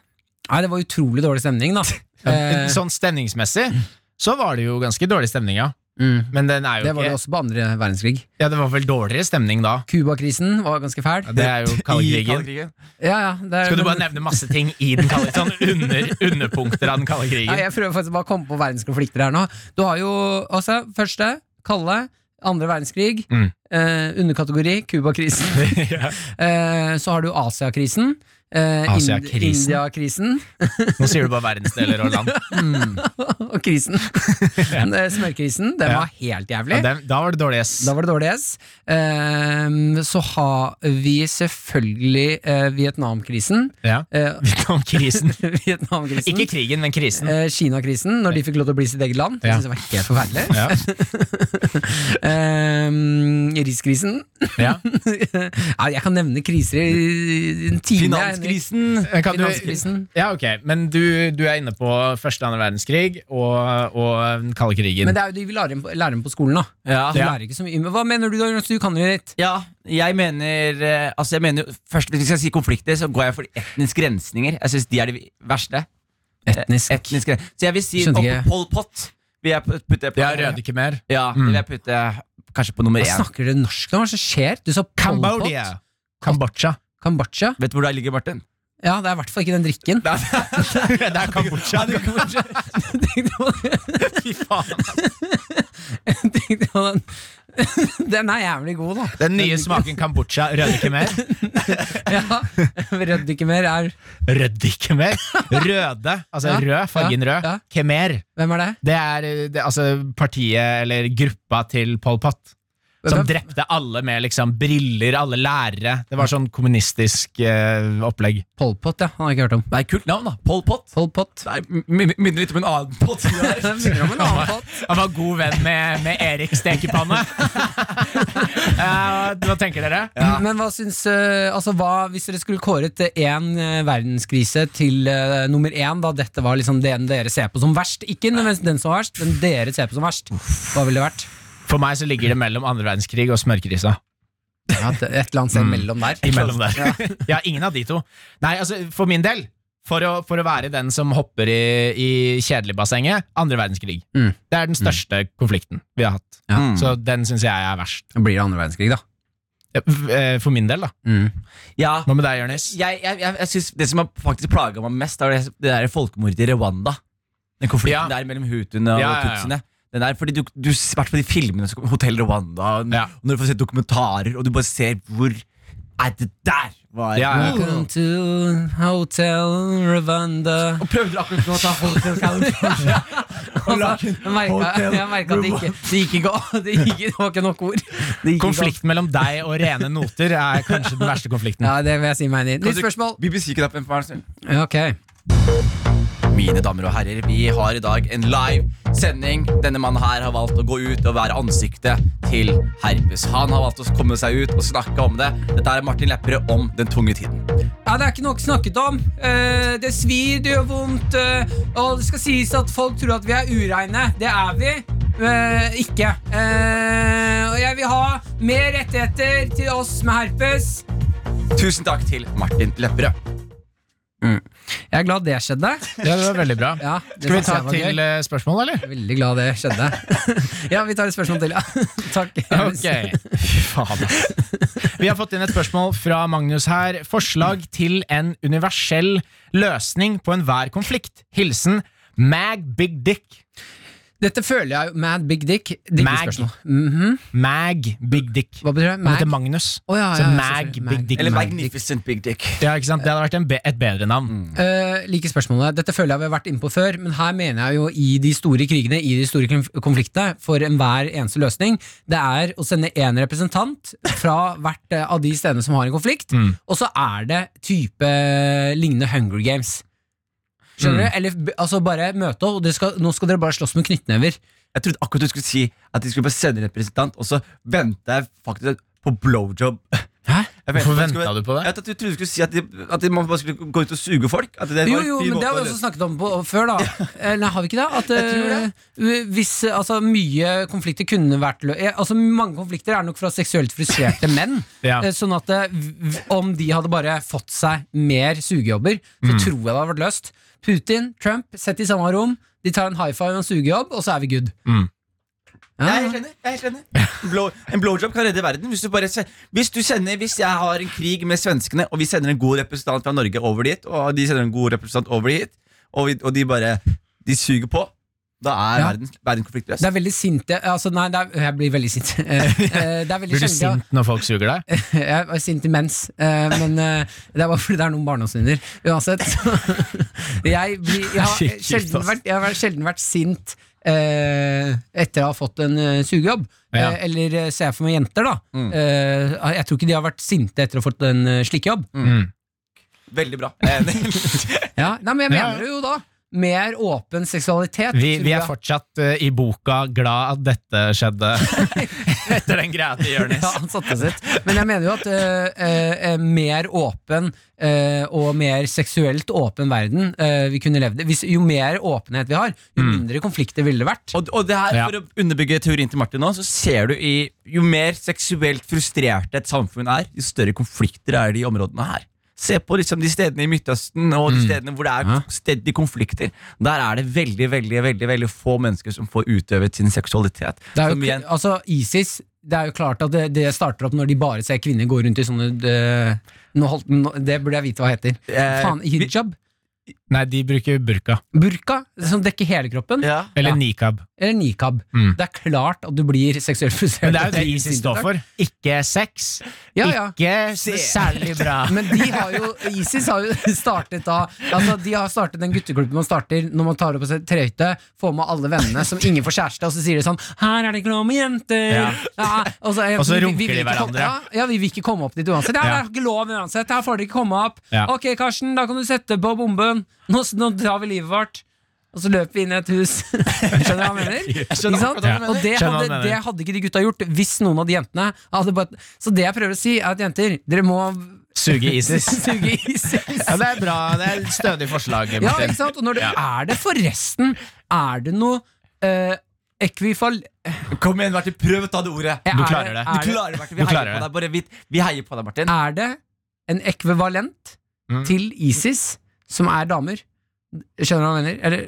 S2: Nei, det var utrolig dårlig stemning, da. Eh,
S4: Sånn stemningsmessig så var det jo ganske dårlig stemning, ja.
S2: mm.
S4: Men den er jo
S2: Det var det
S4: ikke
S2: også på andre verdenskrig.
S4: Ja, det var vel dårligere stemning da.
S2: Cuba-krisen var ganske fæl.
S4: Det
S2: [laughs]
S4: er jo
S3: I
S4: kaldkrigen.
S2: Ja, ja, det er-
S4: Skal du bare nevne masse ting i den
S2: [laughs]
S4: kalde sånn under, underpunkter av den kalde
S2: Ja,
S4: krigen?
S2: jeg prøver faktisk bare å komme på verdenskonflikter her nå. Du har jo altså første, kalde, andre verdenskrig,
S4: Mm. [laughs]
S2: eh, underkategori Cuba-krisen.
S4: Ja.
S2: eh, så har du Asia-krisen, eh, Ind
S4: Asia-krisen.
S2: India-krisen [laughs]
S4: Nå sier du bare verdensdeler og land.
S2: og
S4: [laughs]
S2: krisen. Men, eh, Smørkrisen. Den
S4: Ja.
S2: var helt jævlig.
S4: Ja, det, da var det dårlig S.
S2: Da var det dårlig S. Ehm, så har vi selvfølgelig eh, Vietnamkrisen.
S4: Ja. [laughs]
S2: Eh, [laughs]
S4: Vietnamkrisen.
S2: Vietnamkrisen.
S4: Ikke krigen, men krisen.
S2: Eh, Kina-krisen, når de fikk lov til å bli sitt eget land.
S4: Ja.
S2: Jeg synes det var helt forferdelig.
S4: Ja.
S2: Ehm, Riskrisen.
S4: Ja.
S2: [laughs] Nei, jeg kan nevne kriser i en time.
S3: Finanskrisen.
S4: Eh, Kan du,
S2: Finanskrisen.
S4: ja, ok. Men du, du er inne på første og andre verdenskrig og, og den kalde krigen.
S2: Men det er jo de vi lærer dem på, lærer dem på skolen, da.
S3: Ja.
S2: De lærer ikke så mye. Men Hva mener du, da, Jonas? Du kan jo litt.
S3: Ja, jeg mener eh, Altså jeg mener jo- Først hvis jeg skal si konflikter Så går jeg for etniske rensninger Jeg synes de er de verste
S2: Etnisk.
S3: Etniske ren- Så jeg vil si
S2: Skjønte
S3: opp
S2: ikke.
S3: Pol Pot Vil jeg pu- putte på
S4: Ja, Rødekemer.
S3: Ja,
S2: Mm.
S3: det vil jeg putte Kanskje på nummer
S2: Hva
S3: 1
S2: snakker du norsk om? Hva er det som skjer? Du sa Pol Pot.
S4: Cambodia. [laughs] Kambodsja.
S2: Kambodsja?
S3: Vet du hvor det ligger, Martin?
S2: Ja, det er i hvert fall ikke den drikken.
S4: det er Kambodsja. Fy faen.
S2: Tenkte på den. Den er jævlig god, da.
S4: Den nye smaken Kambodsja. Rødekemer.
S2: Ja. Rødt ikke mer er
S4: Rødikemer. Røde. Altså
S2: Ja,
S4: rød, fargen
S2: ja,
S4: rød.
S2: ja.
S4: Kemer.
S2: Hvem er det?
S4: Det er eh, det, altså partiet, eller gruppa til Pol Pot. Som
S2: Hvem-
S4: drepte alle med liksom briller, alle lærere. Det var sånn kommunistisk eh, opplegg.
S2: Pol Pot, ja. Han har jeg ikke hørt om.
S3: Det er et kult
S2: Sånn,
S3: navn da Pol Pot
S2: Pol Pot.
S3: Det er- min- minner litt om en annen
S2: [laughs]
S3: pot
S2: Den minner om en annen pot.
S4: Han var god venn med, med Erik [laughs] Stekepanne. Eh, hva tenker dere?
S2: Men hva syns eh, Altså, hva hvis dere skulle kåret én verdenskrise til eh, nummer én, da dette var liksom den dere ser på som verst? Ikke nødvendigvis den som var verst, men dere ser på som verst. Hva ville det vært?
S4: For meg så ligger det mellom andre verdenskrig og smørkrisa.
S2: Ja, det- et eller annet sted mellom
S4: [laughs]
S2: der.
S4: Imellom der. ja, ingen av de to. Nei, altså, for min del, for å, for å være den som hopper i, i kjedeligbassenget, andre verdenskrig.
S2: Mm.
S4: Det er den største konflikten vi har hatt.
S3: Ja.
S4: Så den syns jeg er verst.
S2: Da blir det andre verdenskrig, da. Mm.
S4: Eh, f- eh, For min del, da.
S3: Ja
S4: Hva med deg, Jonis?
S3: jeg, jeg, jeg, jeg synes det som har faktisk plaget meg mest Er det, det der folkemordet i Rwanda Den konflikten
S4: Ja.
S3: der mellom hutuene og
S4: Ja, ja, ja.
S3: tutsene Den der, fordi du, du hvert fall de filmene som- Hotel Rwanda og,
S4: Ja.
S3: og Når du får se dokumentarer Og du bare ser hvor Er det der var
S4: Ja, ja.
S2: Welcome to Hotel Rwanda.
S3: Og prøvde
S4: [laughs]
S3: akkurat nå å ta Hotel California
S2: Altså, [laughs] jeg merket- jeg merka at det ikke, det gikk ikke å- [laughs] det, gikk, det var ikke nok ord. Det gikk ikke å-
S4: Konflikten mellom deg og rene noter er kanskje den verste konflikten.
S2: Ja, det vil jeg si meg enig i. Nytt spørsmål.
S3: BBC-knappen for meg
S2: Ja, Ok.
S3: Mine damer og herrer, vi har i dag en live sending. Denne mannen her har valgt å gå ut og være ansiktet til herpes. Han har valgt å komme seg ut og snakke om det. Dette er Martin Lepperød om den tunge tiden.
S2: Ja, Det er ikke nok snakket om. Eh, det svir, det gjør vondt. eh, og det skal sies at folk tror at vi er ureine. Det er vi eh, ikke. Eh, og jeg vil ha mer rettigheter til oss med herpes.
S3: Tusen takk til Martin Lepperød.
S2: Jeg er glad det skjedde.
S4: Ja, det var veldig bra.
S2: Ja, det
S4: Skal vi
S2: synes
S4: ta
S2: jeg var gøy.
S4: til eh, spørsmål, eller?
S2: Veldig glad det skjedde.
S4: [laughs]
S2: ja, vi tar et spørsmål til. Ja. Takk. Jonas.
S4: Ok. [laughs] Fy faen, ass. Vi har fått inn et spørsmål fra Magnus her. Forslag til en universell løsning på enhver konflikt. Hilsen Mag Big Dick.
S2: Dette føler jeg jo Mad Big Dick. Digge
S4: Mag.
S2: spørsmål. Mhm.
S4: Mag Big Dick.
S2: Hva betyr det?
S4: Han heter
S2: Mag?
S4: Magnus.
S2: Å, ja, ja,
S4: Så
S2: ja,
S4: Mag
S2: selvfølgelig.
S4: Big
S2: Mag.
S4: Dick.
S3: Eller
S2: Mag-
S3: Magnificent Big Dick.
S4: Ja, ikke sant? Det hadde vært en be et bedre navn.
S2: Eh, like spørsmålet. Dette føler jeg vi har vært inne på før, men her mener jeg jo i de store krigene, i de store konf- konfliktene, for enhver eneste løsning, det er å sende én representant fra hvert eh, av de stedene som har en konflikt, og så er det type eh, lignende Hunger Games. Skjønner du? Eller b- altså bare møte opp, og det skal, nå skal dere bare slåss med knyttnever.
S3: Jeg trodde akkurat du skulle si at de skulle bare sende en representant, og så venta jeg faktisk på blowjob. [laughs]
S2: Hæ?
S3: Jeg ventet-
S4: Hvorfor
S3: jeg skulle-
S4: venta du på det?
S3: Jeg trodde du skulle si at, de, at de, man bare skulle gå ut og suge folk. At det
S2: Jo,
S3: var en
S2: jo,
S3: fin
S2: men
S3: måte
S2: det har
S3: å
S2: vi
S3: løse-
S2: også snakket om på, før, da. [laughs] Eh, Nei, har vi ikke det? At
S3: Jeg
S2: eh, hvis eh, altså, mye konflikter kunne vært lø eh, Altså, mange konflikter er nok fra seksuelt frustrerte [laughs] menn.
S4: Ja.
S2: Eh, Sånn at eh, v- om de hadde bare fått seg mer sugejobber, så tror jeg det hadde vært løst. Putin, Trump, sett i samme rom. De tar en high five og en sugejobb, og så er vi good.
S4: Mm.
S2: Ja,
S3: Jeg er helt enig. Jeg er helt enig. En Blow, en blowjob kan redde verden. Hvis du, bare, se- hvis du sender Hvis jeg har en krig med svenskene, og vi sender en god representant fra Norge over dit, og de sender en god representant over dit, og, vi, og de bare De suger på, Da er
S2: Ja.
S3: verden, verden konfliktløs.
S2: Det er veldig sinte altså, Nei, det er, jeg blir veldig sint. [laughs] Eh, eh, det er veldig
S4: Blir du
S2: sjelden jeg-
S4: sint når folk suger deg?
S2: [laughs] Jeg var sint imens, eh, men eh, det er bare fordi det er noen barndomssynder. Uansett. [laughs] Så, jeg, blir, jeg, har
S4: Shit,
S2: sjelden
S4: ass.
S2: vært, jeg har sjelden vært sint eh, etter å ha fått en eh, sugejobb.
S4: Ja. Mm.
S2: Eh, eller eh, ser jeg for meg jenter, da. Eh, jeg tror ikke de har vært sinte etter å ha fått en eh, slikkejobb.
S4: Mm.
S3: Veldig bra. Jeg er enig.
S2: [laughs] Ja, nei, men jeg
S4: Ja,
S2: mener det jo da. Mer åpen seksualitet.
S4: Vi,
S2: tror
S4: vi er
S2: jeg.
S4: fortsatt eh, i boka glad at dette skjedde
S2: [laughs]
S4: etter den greia til Jonis.
S2: Ja, han satte sitt. Men jeg mener jo at eh, eh, eh, mer åpen eh, og mer seksuelt åpen verden eh, vi kunne levd i Hvis- Jo mer åpenhet vi har, jo
S4: Mm.
S2: mindre konflikter ville det vært.
S3: Og, og det her,
S4: Ja.
S3: For å underbygge teorien til Martin, nå, så ser du i jo mer seksuelt frustrert et samfunn er, jo større konflikter er det i områdene her. Se på liksom de stedene i Midtøsten og de stedene hvor det er
S2: Mm. Ja.
S3: stedlige konflikter. Der er det veldig veldig, veldig, veldig få mennesker som får utøvet sin seksualitet.
S2: Det er jo,
S3: Som
S2: k-
S3: igjen-
S2: altså ISIS det er jo klart at det, det starter opp når de bare ser kvinner gå rundt i sånne eh, nå holdt, nå, Det burde jeg vite hva heter.
S3: Eh,
S2: Faen,
S3: vi-
S2: hijab?
S4: Nei, de bruker burka.
S2: Burka? Som dekker hele kroppen?
S3: ja.
S4: Eller
S2: Ja.
S4: nikab.
S2: Eller nikab?
S4: Mm.
S2: Det er klart at du blir seksuelt frustrert.
S4: Men det er jo
S2: av
S4: det
S2: de
S4: ISIS står
S2: instinktene.
S4: for. Ikke sex,
S2: Ja, ja.
S4: ikke særlig bra.
S2: [laughs] Men de har jo, ISIS har jo startet da Altså De har startet den gutteklubben man starter når man tar opp på seg trehøyte, får med alle vennene som ingen får kjæreste, og så sier de sånn 'Her er det ikke lov med jenter'.
S4: Ja.
S2: Ja, og, så,
S4: Og så
S2: vi- vi-
S4: runker
S2: vi vil
S4: de
S2: ikke komme-
S4: hverandre.
S2: Ja, ja, vi vil ikke komme opp dit uansett. Ja,
S4: Ja.
S2: Det er ikke lov uansett. Her får dere ikke komme opp.
S4: Ja.
S2: Ok, Karsten, da kan du sette på bomben. Nå, nå drar vi livet vårt. Og så løper vi inn i et hus. [laughs] Skjønner du hva jeg mener? Ikke sant?
S4: hva du mener.
S2: Og det
S4: Skjønner hva du
S2: hadde,
S4: mener.
S2: det hadde ikke de gutta gjort hvis noen av de jentene hadde bare Så det jeg prøver å si, er at jenter, dere
S4: [laughs]
S2: må
S4: Suge ISIS.
S2: suge ISIS.
S4: Ja, det er bra. Det er et stødig forslag.
S2: Ja,
S4: Martin.
S2: ikke sant? Og når det, er det forresten Er det noe eh, ekvifal... eh,
S3: Kom igjen, Martin, prøv å ta det ordet.
S2: er
S4: Du klarer det.
S2: Er
S3: Du
S2: det,
S3: klarer det, Martin.
S4: Du
S3: Vi
S4: klarer
S3: heier på
S4: det.
S3: deg. Bare, vi, vi heier på deg, Martin.
S2: er det en ekvivalent
S4: Mm.
S2: til ISIS som er damer? Skjønner du hva jeg mener? Eller,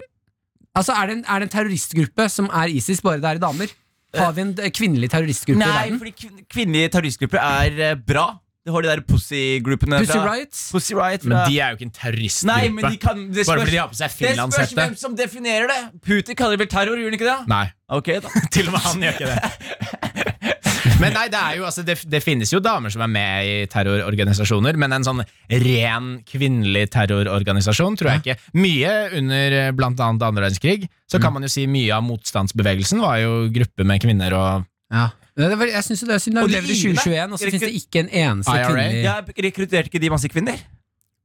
S2: altså, er det, en, er det en terroristgruppe som er ISIS, bare det er damer? Har vi en eh, kvinnelig terroristgruppe i
S3: Nei,
S2: verden?
S3: fordi kvin- kvinnelige terroristgrupper er eh, bra. Det har de der pussy-gruppene
S2: Pussy
S3: fra-
S2: Riots?
S3: Pussy Riot fra
S4: Men de er jo ikke en terroristgruppe.
S3: Nei, men de kan det
S4: Bare fordi de har på seg
S3: Det spørs
S4: finlandshette.
S3: hvem som definerer det. Putin kaller det vel terror, gjør han ikke det?
S4: Nei,
S3: Ok,
S4: [laughs]
S3: da.
S4: til og med han gjør ikke det. Men nei, Det er jo, altså, det, det finnes jo damer som er med i terrororganisasjoner, men en sånn ren kvinnelig terrororganisasjon tror jeg ikke. Mye under eh, blant annet andre verdenskrig, så kan man jo si mye av motstandsbevegelsen var jo grupper med kvinner og
S2: Ja. Det var, jeg synes det er synd. Da
S3: Og de
S2: lever i
S3: gir deg.
S2: 2021, og så
S3: Rekrut-
S2: finnes det ikke en eneste
S4: IRA?
S2: kvinnelig
S3: Ja, rekrutterte ikke de masse kvinner?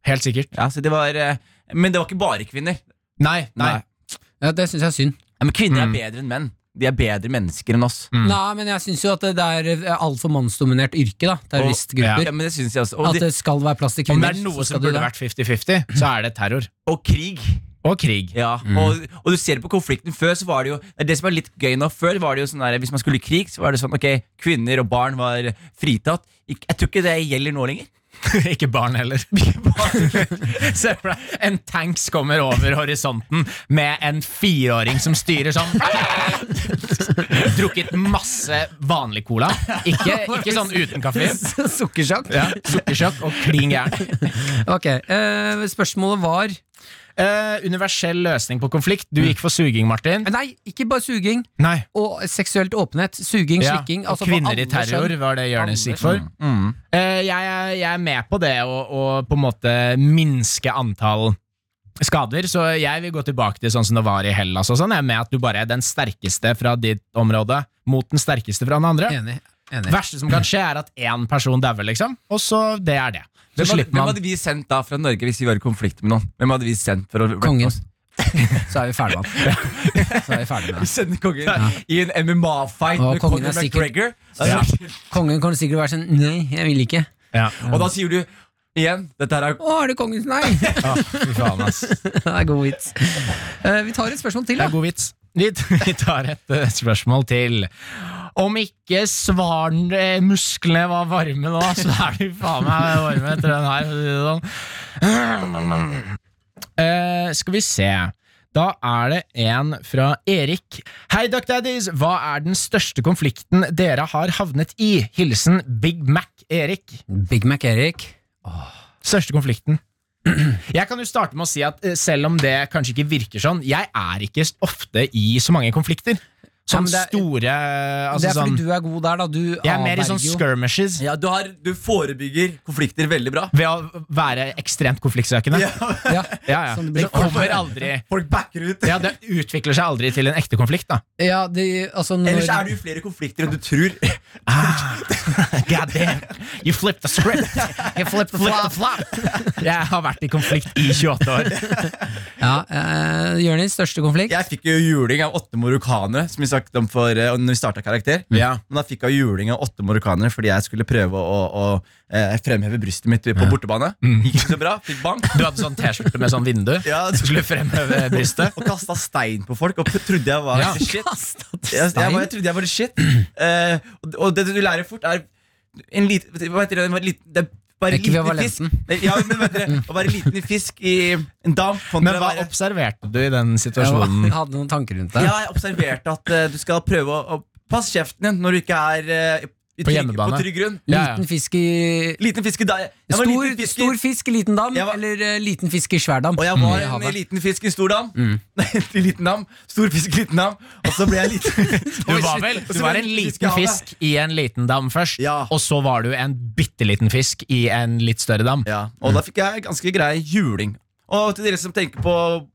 S4: Helt sikkert.
S3: Ja, så det var eh, Men det var ikke bare kvinner.
S4: Nei, nei.
S3: Nei.
S2: Ja, Det syns jeg er synd.
S3: Ja, men kvinner
S4: Mm.
S3: er bedre enn menn. De er bedre mennesker enn oss.
S4: Mm.
S2: Nei, men jeg syns jo at det det er altfor mannsdominert yrke, da.
S3: Ja,
S2: Terroristgrupper.
S3: men det synes jeg også.
S2: At
S3: Og, de,
S2: det skal være plass til
S4: Om
S2: kvinner.
S4: det er noe
S2: så skal
S4: som
S2: det
S4: burde
S2: [laughs] det.
S4: vært 50-50, så er det terror.
S3: og krig.
S4: Og krig.
S3: Ja, og, og du ser det på konflikten før, så var det jo Det er det som er litt gøy nå. Før var det jo sånn der, hvis man skulle i krig, så var det sånn ok, kvinner og barn var fritatt. Ik- Jeg tror ikke det gjelder nå lenger.
S4: [laughs] Ikke barn heller. [laughs] Se for deg, en tanks kommer over horisonten med en fireåring som styrer sånn. [laughs] Drukket masse vanlig cola. Ikke, ikke sånn uten
S2: [laughs]
S4: kaffein.
S2: Sukkersjakk.
S4: Ja, Sukkersjokk og klin gæren.
S2: Ok, eh, spørsmålet var
S4: Eh, universell løsning på konflikt. Du gikk for suging, Martin.
S2: Nei, ikke bare suging
S4: Nei.
S2: og seksuelt åpenhet. Suging,
S4: Ja.
S2: slikking.
S4: Og
S2: altså for
S4: kvinner i
S2: alle
S4: terror
S2: skjønn.
S4: var det Jonis
S2: Alle
S4: gikk for. Eh, jeg, er, jeg er med på det å, å på en måte minske antall skader, så jeg vil gå tilbake til sånn som det var i Hellas og sånn, jeg er med at du bare er den sterkeste fra ditt område mot den sterkeste fra den andre.
S2: Enig.
S4: Det
S2: enig.
S4: verste som kan skje er at én person dauer, liksom, og så det er det. Så
S3: Hvem hadde,
S4: slipper
S3: hvem
S4: man
S3: hadde vi sendt da fra Norge hvis vi var i konflikt med noen? Hvem hadde vi sendt for å
S2: Kongen. [laughs] Så er vi ferdig med det. Så er vi ferdig med
S3: Vi
S2: det.
S3: sender kongen i en MMA-fight
S2: Og
S3: med
S2: kongen
S3: Conor
S2: er sikkert-
S3: McGregor.
S4: Ja.
S2: Kongen kommer sikkert til å være sånn Nei, jeg vil ikke.
S4: ja.
S3: Og da sier du igjen Dette her er
S2: Å, er det kongens nei? [laughs] det
S4: Å, fy faen, ass. Det
S2: er god vits. Eh, vi tar et spørsmål til, da.
S4: er god vits. Vi [laughs] vi tar et eh, spørsmål til. Om ikke svaren, eh, musklene var varme nå, så er de faen meg varme etter den her. for å si det sånn. Eh, skal vi se. Da er det en fra Erik. Hei, Duck Daddies! Hva er den største konflikten dere har havnet i? Hilsen Big Mac Erik.
S2: Big Mac Erik.
S4: Største konflikten. Jeg kan jo starte med å si at eh, selv om det kanskje ikke virker sånn, jeg er ikke s- ofte i så mange konflikter. Som
S2: men det er-
S4: store
S2: det
S4: altså
S2: er
S4: sånn,
S2: fordi du er god der, da. Du
S4: Jeg er mer i sånn
S2: avverger jo.
S4: skirmishes
S3: Ja, du, har, du forebygger konflikter veldig bra.
S4: ved å være ekstremt konfliktsøkende. Ja,
S2: Ja.
S4: [laughs] ja.
S2: Som det blir-
S4: Det kommer aldri
S3: Folk backer ut.
S4: ja, Det utvikler seg aldri til en ekte
S2: [laughs]
S4: konflikt, da.
S6: Ja, de, altså når,
S3: [laughs] Ellers er det jo flere konflikter enn du tror.
S4: God damn, you flipped the script! You flipped the flop. Jeg har vært i konflikt i 28 år.
S2: ja, eh, Jørnis, største konflikt?
S3: Jeg fikk jo juling av åtte marokkanere, som vi snakket om for, eh, når vi startet Karakter.
S4: Mm.
S3: Men da fikk jeg juling av åtte marokkanere fordi jeg skulle prøve å, å, eh, fremheve brystet mitt på bortebane. Gikk ikke så bra, fikk
S4: [laughs]
S3: bank.
S4: Du hadde sånn T-skjorte med sånn vindu.
S3: Ja,
S4: Mm. Du skulle fremheve brystet.
S3: [laughs] Og kasta stein på folk og trodde jeg var
S4: Ja.
S2: [laughs]
S3: shit. Jeg, jeg, var- jeg trodde jeg var shit. [clears throat] Eh, og, og det du lærer fort, er en lite, hva heter det, en liten, det er bare
S2: Ikke
S3: liten
S2: violensen.
S3: fisk. Nei, Ja, men vet dere, å være liten i fisk i en dam kontra
S4: Men hva
S3: å være-
S4: observerte du i den
S2: Jeg var-
S4: situasjonen?
S2: hadde noen tanker rundt det.
S3: Ja, jeg observerte at eh, du skal prøve å, å passe kjeften din når du ikke er eh, i
S4: På
S3: trygg,
S4: hjemmebane.
S3: på trygg grunn.
S4: Ja, ja.
S2: Liten fisk i
S3: Liten fisk i dag. Jeg var
S2: Stor,
S3: en liten fisk i-
S2: stor fisk i liten dam,
S3: Jeg var-
S2: eller eh, liten fisk i svær dam. [laughs]
S3: Og jeg
S2: Mm.
S3: var
S2: I
S3: en
S2: havet.
S3: liten fisk i stor dam.
S4: Mm.
S3: [laughs] Nei, i liten dam. Stor fisk i liten dam. Og så ble jeg liten.
S4: [laughs] Du var vel
S3: Og så
S4: du
S3: ble
S4: var
S3: jeg
S4: en
S3: i
S4: liten
S3: havet.
S4: fisk i en liten dam først,
S3: Ja.
S4: og så var du en bitte liten fisk i en litt større dam.
S3: Ja, og da fikk jeg ganske grei juling. Og til dere som tenker på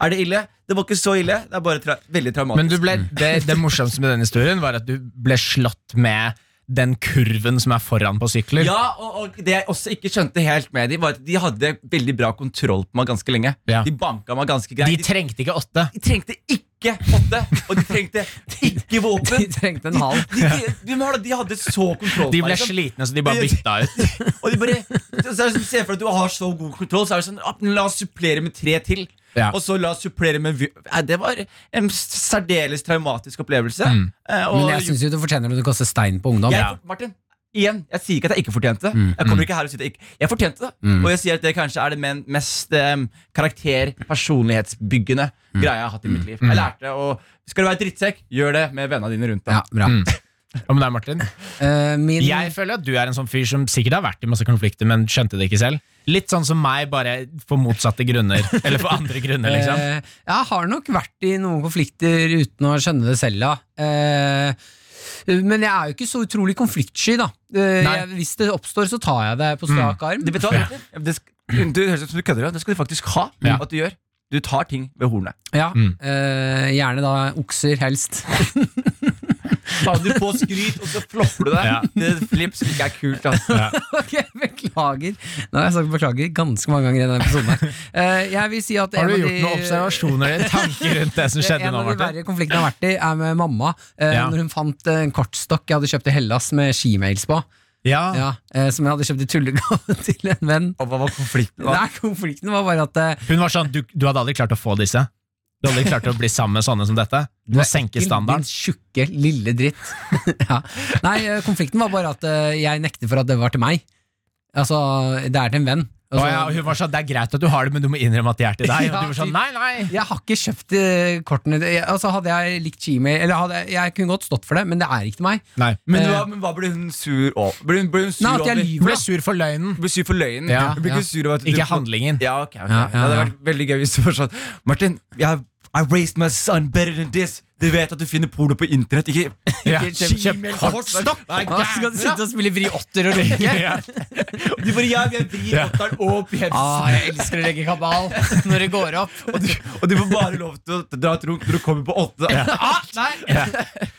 S3: Er det ille? Det var ikke så ille. Det er bare tra veldig traumatisk.
S4: Men du ble, det, det morsomste med den historien var at du ble slått med den kurven som er foran på sykler.
S3: Ja, og, og det jeg også ikke skjønte helt med de, var at de hadde veldig bra kontroll på meg ganske lenge.
S4: Ja.
S3: De banka meg ganske
S4: De
S3: greit. De,
S4: trengte ikke åtte.
S3: de trengte ikke åtte, og de trengte ikke
S2: De
S3: våpen.
S2: trengte en halv.
S3: De, de, de, var- de hadde så kontroll
S4: De ble
S3: på meg. liksom.
S4: slitne, så de bare bytta ut.
S3: [laughs] Og de bare så er det sånn, Se for deg at du har så god kontroll, så er det sånn ah, men La oss supplere med tre til.
S4: Ja.
S3: Og så la oss supplere med vi- Nei, Det var en særdeles traumatisk opplevelse. Eh, og,
S2: Mm. Men jeg syns jo du fortjener det å kaste stein på ungdom.
S3: Jeg- Martin, igjen, jeg sier ikke at jeg ikke fortjente det.
S2: Mm.
S3: Jeg kommer ikke her og sier at jeg ikke Jeg fortjente det. Og jeg sier at det kanskje er det men- mest eh, karakter, personlighetsbyggende
S2: Mm.
S3: greia jeg har hatt i mitt liv. Jeg lærte det, og skal du være drittsekk, gjør det med vennene dine rundt deg.
S2: Ja, bra.
S4: Hva med deg, Martin?
S2: Eh, min,
S4: Jeg føler at du er en sånn fyr som sikkert har vært i masse konflikter, men skjønte det ikke selv. Litt sånn som meg, bare for motsatte grunner. Eller for andre grunner, liksom.
S2: eh, jeg har nok vært i noen konflikter uten å skjønne det selv, da. Eh, men jeg er jo ikke så utrolig konfliktsky, da. Eh,
S4: Nei. Mm.
S2: jeg, hvis det oppstår, så tar jeg det på strak arm.
S3: Det, vet du hva, Martin? det, sk- du høres ut som du kødder, ja. det skal du faktisk ha
S4: Ja.
S3: at du gjør. Du tar ting ved hornet.
S2: Ja,
S4: Mm.
S2: eh, Gjerne da okser, helst. [laughs]
S3: Tar du på skryt, og så flopper du deg.
S4: Ja.
S3: Det flips ikke er kult. Altså.
S2: ok, Beklager. Nå har jeg sagt beklager ganske mange ganger i denne episoden. her. Eh, jeg vil si at
S4: Har
S2: en
S4: du
S2: av
S4: gjort
S2: de-
S4: noen observasjoner eller tanker rundt det
S2: [laughs]
S4: som skjedde
S2: en
S4: nå,
S2: av de
S4: Martin?
S2: verre konfliktene jeg har vært i, er med mamma. Eh,
S4: Ja.
S2: Når hun fant eh, en kortstokk jeg hadde kjøpt i Hellas med skimails på.
S4: Ja.
S2: Ja, eh, som jeg hadde kjøpt i tullegave [laughs] til en venn.
S3: Og hva var konflikten? da?
S2: Nei, konflikten var bare at eh,
S4: Hun var sånn, du, du hadde aldri klart å få disse. Du hadde aldri klart å bli sammen med sånne som dette. Du må senke standarden.
S2: Din tjukke, lille dritt. [laughs] ja. Nei, eh, konflikten var bare at eh, jeg nekter for at det var til meg. Altså, det er til en venn.
S4: Å
S2: Altså,
S4: ja, og hun var sånn, Det er greit at du har det, men du må innrømme at de er til deg.
S2: Ja,
S4: Og du var sånn,
S2: typ.
S4: nei, nei
S2: Jeg har ikke kjøpt eh, kortene. Det- jeg- Altså, hadde jeg likt Gmail Eller hadde, jeg- jeg kunne godt stått for det, men det er ikke til meg.
S4: Nei,
S3: Men,
S2: Eh.
S3: hva, men hva ble hun sur over? Ble hun, ble hun sur
S2: Nei, at jeg
S3: over?
S2: lyver.
S4: Hun ble sur for løgnen,
S3: Ble sur for løgnen?
S4: Ja,
S3: Hun ble
S2: ja.
S3: ikke sur over at du-
S4: ikke handlingen.
S3: Ja, ok, ok.
S2: Ja, ja,
S3: Det
S2: ja.
S3: hadde vært veldig gøy hvis du var sånn Martin, jeg, I raised my son better than this. Du vet at du finner porno på internett, ikke
S4: Ja.
S3: ikke
S4: Kjøp- kjøp
S3: Gmail-
S4: kortstokk.
S3: Nei,
S2: Ja, så skal du
S3: gæren,
S2: sitte og spille vri
S4: [laughs]
S2: åtter og runke.
S4: Ja.
S3: da. Du bare, ja, jeg vrir åtteren opp i
S2: Ah,
S3: helsen.
S2: jeg elsker å legge kabal [laughs] når det går opp.
S3: Og du, og du får bare lov til å dra et runk når du kommer på åtte.
S2: Ah, nei.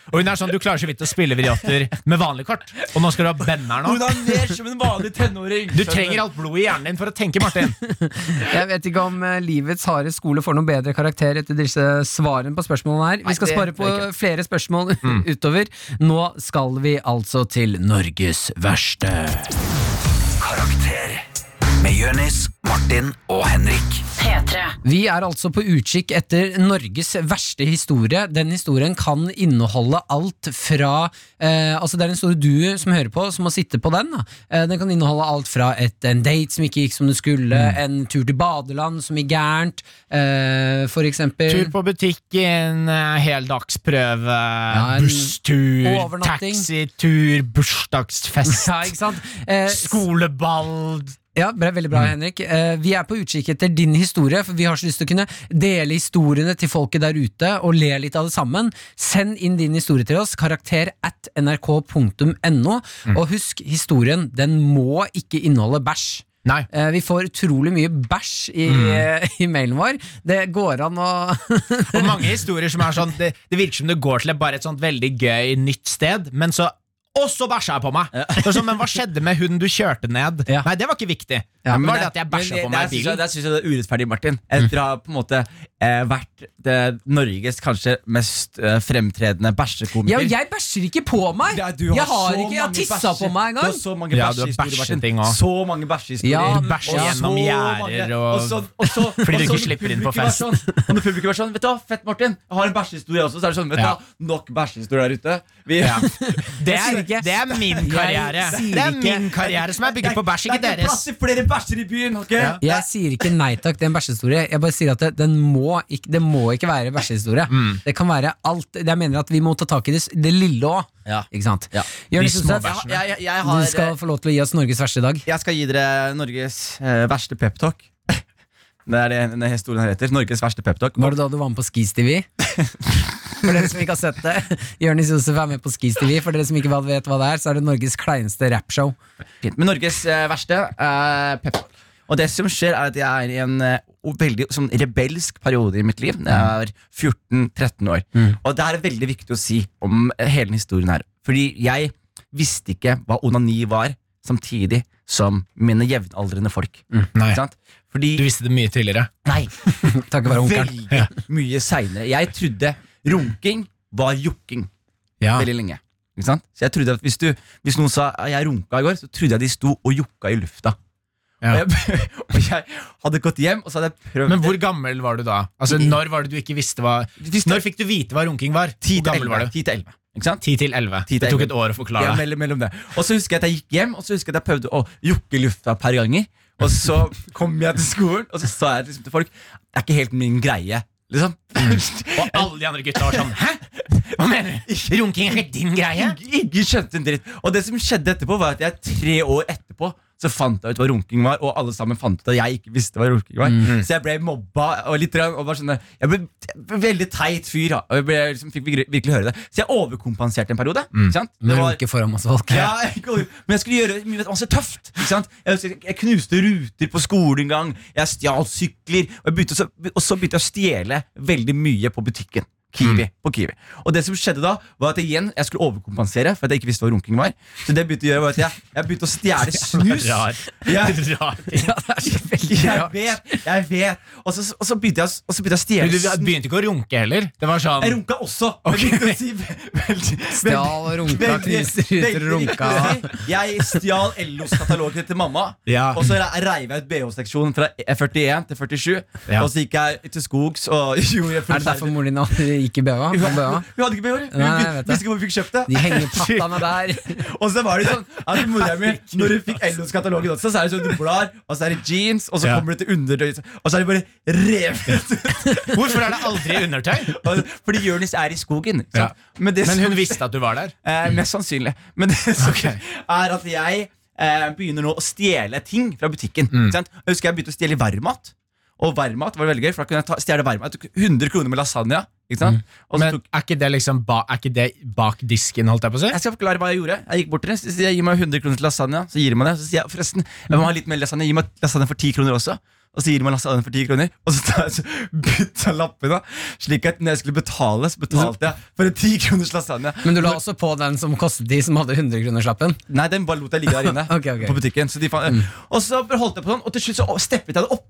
S4: Og hun er sånn, du klarer så vidt å spille vriotter med vanlig kort. Og nå skal du ha bender nå.
S3: Hun er mer som en vanlig tenåring.
S4: Du trenger alt blodet i hjernen din for å tenke, Martin.
S2: Jeg vet ikke om eh, livets harde skole får noen bedre karakter etter disse svarene på spørsmålene her. Vi skal
S3: det
S2: spare på flere spørsmål [laughs] utover. Nå skal vi altså til Norges verste.
S5: Karakter med Jørnis, Martin og Henrik.
S1: P3.
S2: Vi er altså på utkikk etter Norges verste historie. Den historien kan inneholde alt fra eh, Altså, det er en stor du som hører på, som må sitte på den. Da. Eh, den kan inneholde alt fra et, en date som ikke gikk som det skulle, en tur til badeland som gikk gærent, eh, for eksempel.
S4: Tur på butikken, eh, heldagsprøve,
S2: en
S4: busstur,
S2: overnatting.
S4: taxitur, bursdagsfest,
S2: Ja, ikke sant? Eh,
S4: skoleball,
S2: Ja, bra, Veldig
S3: Mm.
S2: bra, Henrik. Eh, vi er på utkikk etter din historie, for vi har så lyst til å kunne dele historiene til folket der ute og le litt av det sammen. Send inn din historie til oss, karakter at nrk.no.
S3: Mm.
S2: Og husk, historien den må ikke inneholde bæsj.
S4: Nei.
S2: Eh, vi får utrolig mye bæsj i,
S3: Mm.
S2: [laughs] i mailen vår. Det går an å
S4: Og mange historier som er sånn Det, det virker som det går til et- bare et sånt veldig gøy nytt sted, men så og så bæsja jeg på meg! Det er sånn, men hva skjedde med hunden du kjørte ned?
S2: Ja.
S4: Nei, det var ikke viktig.
S2: Ja,
S4: det
S2: men
S4: var
S2: det-
S4: det at jeg bæsja
S3: Men
S4: på
S3: der
S4: meg i
S3: synes jeg-
S4: bilen.
S3: Der syns jeg det er urettferdig, Martin. Etter å ha på en måte eh, vært det, Norges kanskje mest eh, fremtredende bæsjekomiker.
S2: Ja, jeg bæsjer ikke på meg!
S3: Ja, du
S2: jeg
S3: så
S2: har ikke, jeg har
S3: mange
S2: tissa
S3: bæsje-
S2: på meg
S3: Du har
S2: engang!
S3: så mange
S4: Ja, du har
S3: bæsjehistorier, Martin.
S4: bæsjeting også.
S3: Så mange bæsjehistorier.
S2: Ja,
S4: Du bæsjer
S3: Og
S4: gjennom
S3: så
S4: gjerder
S3: mange-
S4: og,
S3: og så- og så-
S4: [laughs] Fordi du
S3: og så
S4: ikke slipper inn på
S3: publikum er
S4: fest.
S3: Sånn, og når publikum er sånn Vet du hva, fett, Martin, jeg har en bæsjehistorie også. Så er det sånn, vet du
S4: Ja.
S3: hva, nok bæsjehistorier der ute. Vi, [laughs]
S4: Ja. Det,
S2: Jeg sier
S4: er,
S2: ikke-
S4: det er min karriere.
S2: sier
S4: Det er
S2: ikke-
S4: min karriere som er bygget på bæsj, ikke
S3: Det er ikke plass
S4: deres.
S3: til flere bæsjer i byen, ok?
S4: Ja.
S2: Jeg sier ikke nei takk, det er en bæsjehistorie. Jeg bare sier at det, den må ikke, det må ikke være bæsjehistorie. Det kan være alt. Jeg mener at vi må ta tak i det, s- det lille òg.
S3: Ja.
S2: Ikke sant?
S3: Ja.
S2: Jonis
S4: De små
S2: Husnes,
S4: bæsjene.
S3: Jeg, jeg, jeg har
S2: du skal få lov til å gi oss Norges verste i dag.
S3: Jeg skal gi dere Norges eh, verste peptalk. [laughs] Det er det denne historien her heter. Norges verste peptalk.
S2: Var det da du var med på Skis [laughs] TV? For dere som ikke har sett det, Jonis Josef er med på Skis TV. For dere som ikke vet hva det er, så er det Norges kleineste rappshow.
S3: Fint. Men Norges eh, verste uh, peptalk. Og det som skjer, er at jeg er i en eh, o- veldig sånn rebelsk periode i mitt liv. Jeg er 14-13 år. Og det er veldig viktig å si om eh, hele den historien her. Fordi jeg visste ikke hva onani var, samtidig som mine jevnaldrende folk.
S4: Mm, Nei,
S3: Ikke sant? Fordi
S4: du visste det mye tidligere.
S3: Nei,
S2: Takket være onkelen.
S4: Ja.
S3: veldig mye seinere. Jeg trodde runking var jukking
S4: Ja.
S3: veldig lenge. Ikke sant? Så jeg trodde at hvis, du, hvis noen sa «Ah, 'jeg runka i går', så trodde jeg de sto og jukka i lufta.
S4: Ja.
S3: Og, jeg, [laughs] og jeg hadde gått hjem, og så hadde jeg prøvd
S4: Men hvor gammel var du da? Altså, Når var det du ikke visste hva Når fikk du vite hva runking var? Hvor gammel var du?
S3: 10 til 11. Ikke sant?
S4: 10 til 11.
S3: til
S4: Det tok
S3: 11.
S4: et år å
S3: Ja,
S4: forklare.
S3: mellom, mellom det. Og så husker jeg at jeg gikk hjem, og så husker jeg at jeg prøvde å jukke i lufta et par ganger. Og
S4: [laughs]
S3: så kom jeg til skolen, og så sa jeg liksom til folk Det er ikke helt min greie. Liksom.
S4: Mm.
S3: [laughs]
S4: Og alle de andre gutta var sånn Hæ? Hva mener du? Runking er [laughs] ikke din greie?
S3: Ingen, ingen skjønte en dritt. Og det som skjedde etterpå, var at jeg tre år etterpå så fant jeg ut hva runking var, og alle sammen fant ut at jeg ikke visste hva runking var. Så jeg ble mobba og litt grann, og bare sånn Jeg ble jeg ble veldig teit fyr, da. og jeg ble, liksom, fikk vir- virkelig høre det. Så jeg overkompenserte en periode. Ikke sant? Det
S2: Men
S3: var-
S2: runke foran masse folk.
S3: ja, jeg går- men jeg skulle gjøre mye masse tøft. Ikke sant? Jeg, husker jeg knuste ruter på skolen en gang. Jeg stjal sykler. Og, jeg begynte, så- og så begynte jeg å stjele veldig mye på butikken. Kiwi,
S4: Mm.
S3: på Kiwi. Og det som skjedde da, var at jeg igjen jeg skulle overkompensere. For at jeg ikke visste hva runking var Så det jeg begynte å gjøre var at jeg, jeg begynte å
S4: [laughs]
S3: stjele snus.
S4: Rar. [laughs]
S3: Jeg,
S4: Rar ting.
S3: [laughs] jeg vet, jeg vet Og så, og så begynte jeg å- og så begynte jeg å
S4: Du
S3: stjele snus.
S4: begynte ikke å runke heller. Det var
S3: Jeg
S4: sånn
S3: runka
S2: [laughs]
S3: også. men jeg begynte å si veldig-
S2: Stjal og runka,
S3: Veldig-
S2: knuste ruter og
S3: veldig
S2: runka.
S3: riktig. Jeg stjal Ellos kataloger til mamma.
S4: Ja.
S3: Og så re- reiv jeg ut BH-seksjonen fra 41 til 47.
S4: Ja.
S3: Og så gikk jeg til skogs og [laughs] gjorde
S2: Er det derfor moren din aldri gikk i BH?
S3: Hun
S2: På BH?
S3: hun hadde ikke BH. Hun
S2: Nei, jeg vet det.
S3: visste ikke hvor hun fikk kjøpt det.
S2: De henger pattene der.
S3: [laughs] Og så var det sånn at mora mi, når hun
S2: altså.
S3: fikk Ellos katalogen også, så er det sånn du blar, og så er det jeans, og så
S4: Ja.
S3: kommer det til undertøy, og så er det bare revet
S2: [laughs]
S3: ut.
S4: Hvorfor er det aldri [laughs] undertøy?
S3: Og- Fordi Jonis er i skogen. ikke sant? Men, det
S4: Men
S3: som-
S4: hun visste at du var der.
S3: Eh, mest sannsynlig. Men det som
S4: Ok.
S3: er at jeg eh, begynner nå å stjele ting fra butikken.
S4: Mm.
S3: Ikke sant? Jeg husker jeg begynte å stjele varmat. Og varmat var veldig gøy, for da kunne jeg ta, stjele varmat. Jeg tok 100 kroner med lasagne. Ikke sant?
S4: Mm.
S3: Og så
S4: Men
S3: tok,
S4: er ikke det liksom ba, Er ikke det bak disken, holdt jeg på å si?
S3: jeg skal forklare hva jeg gjorde. Jeg gikk bort til dem, så sier jeg, gi meg 100 kroner til lasagne. Så gir de meg det. Så sier jeg forresten, jeg må ha litt mer lasagne. Gi meg lasagne for 10 kroner også. Og så gir de meg lasagne for 10 kroner. Og så, tar jeg, så bytta jeg lappene, slik at når jeg skulle betale, så betalte jeg for en 10 kroners lasagne.
S2: Men du la også på den som kostet de som hadde 100-kronerslappen.
S3: Nei, den bare lot jeg ligge der inne
S2: Ok, ok.
S3: på butikken. Så de fant, Og så bare holdt jeg på sånn, og til slutt så steppet jeg det opp.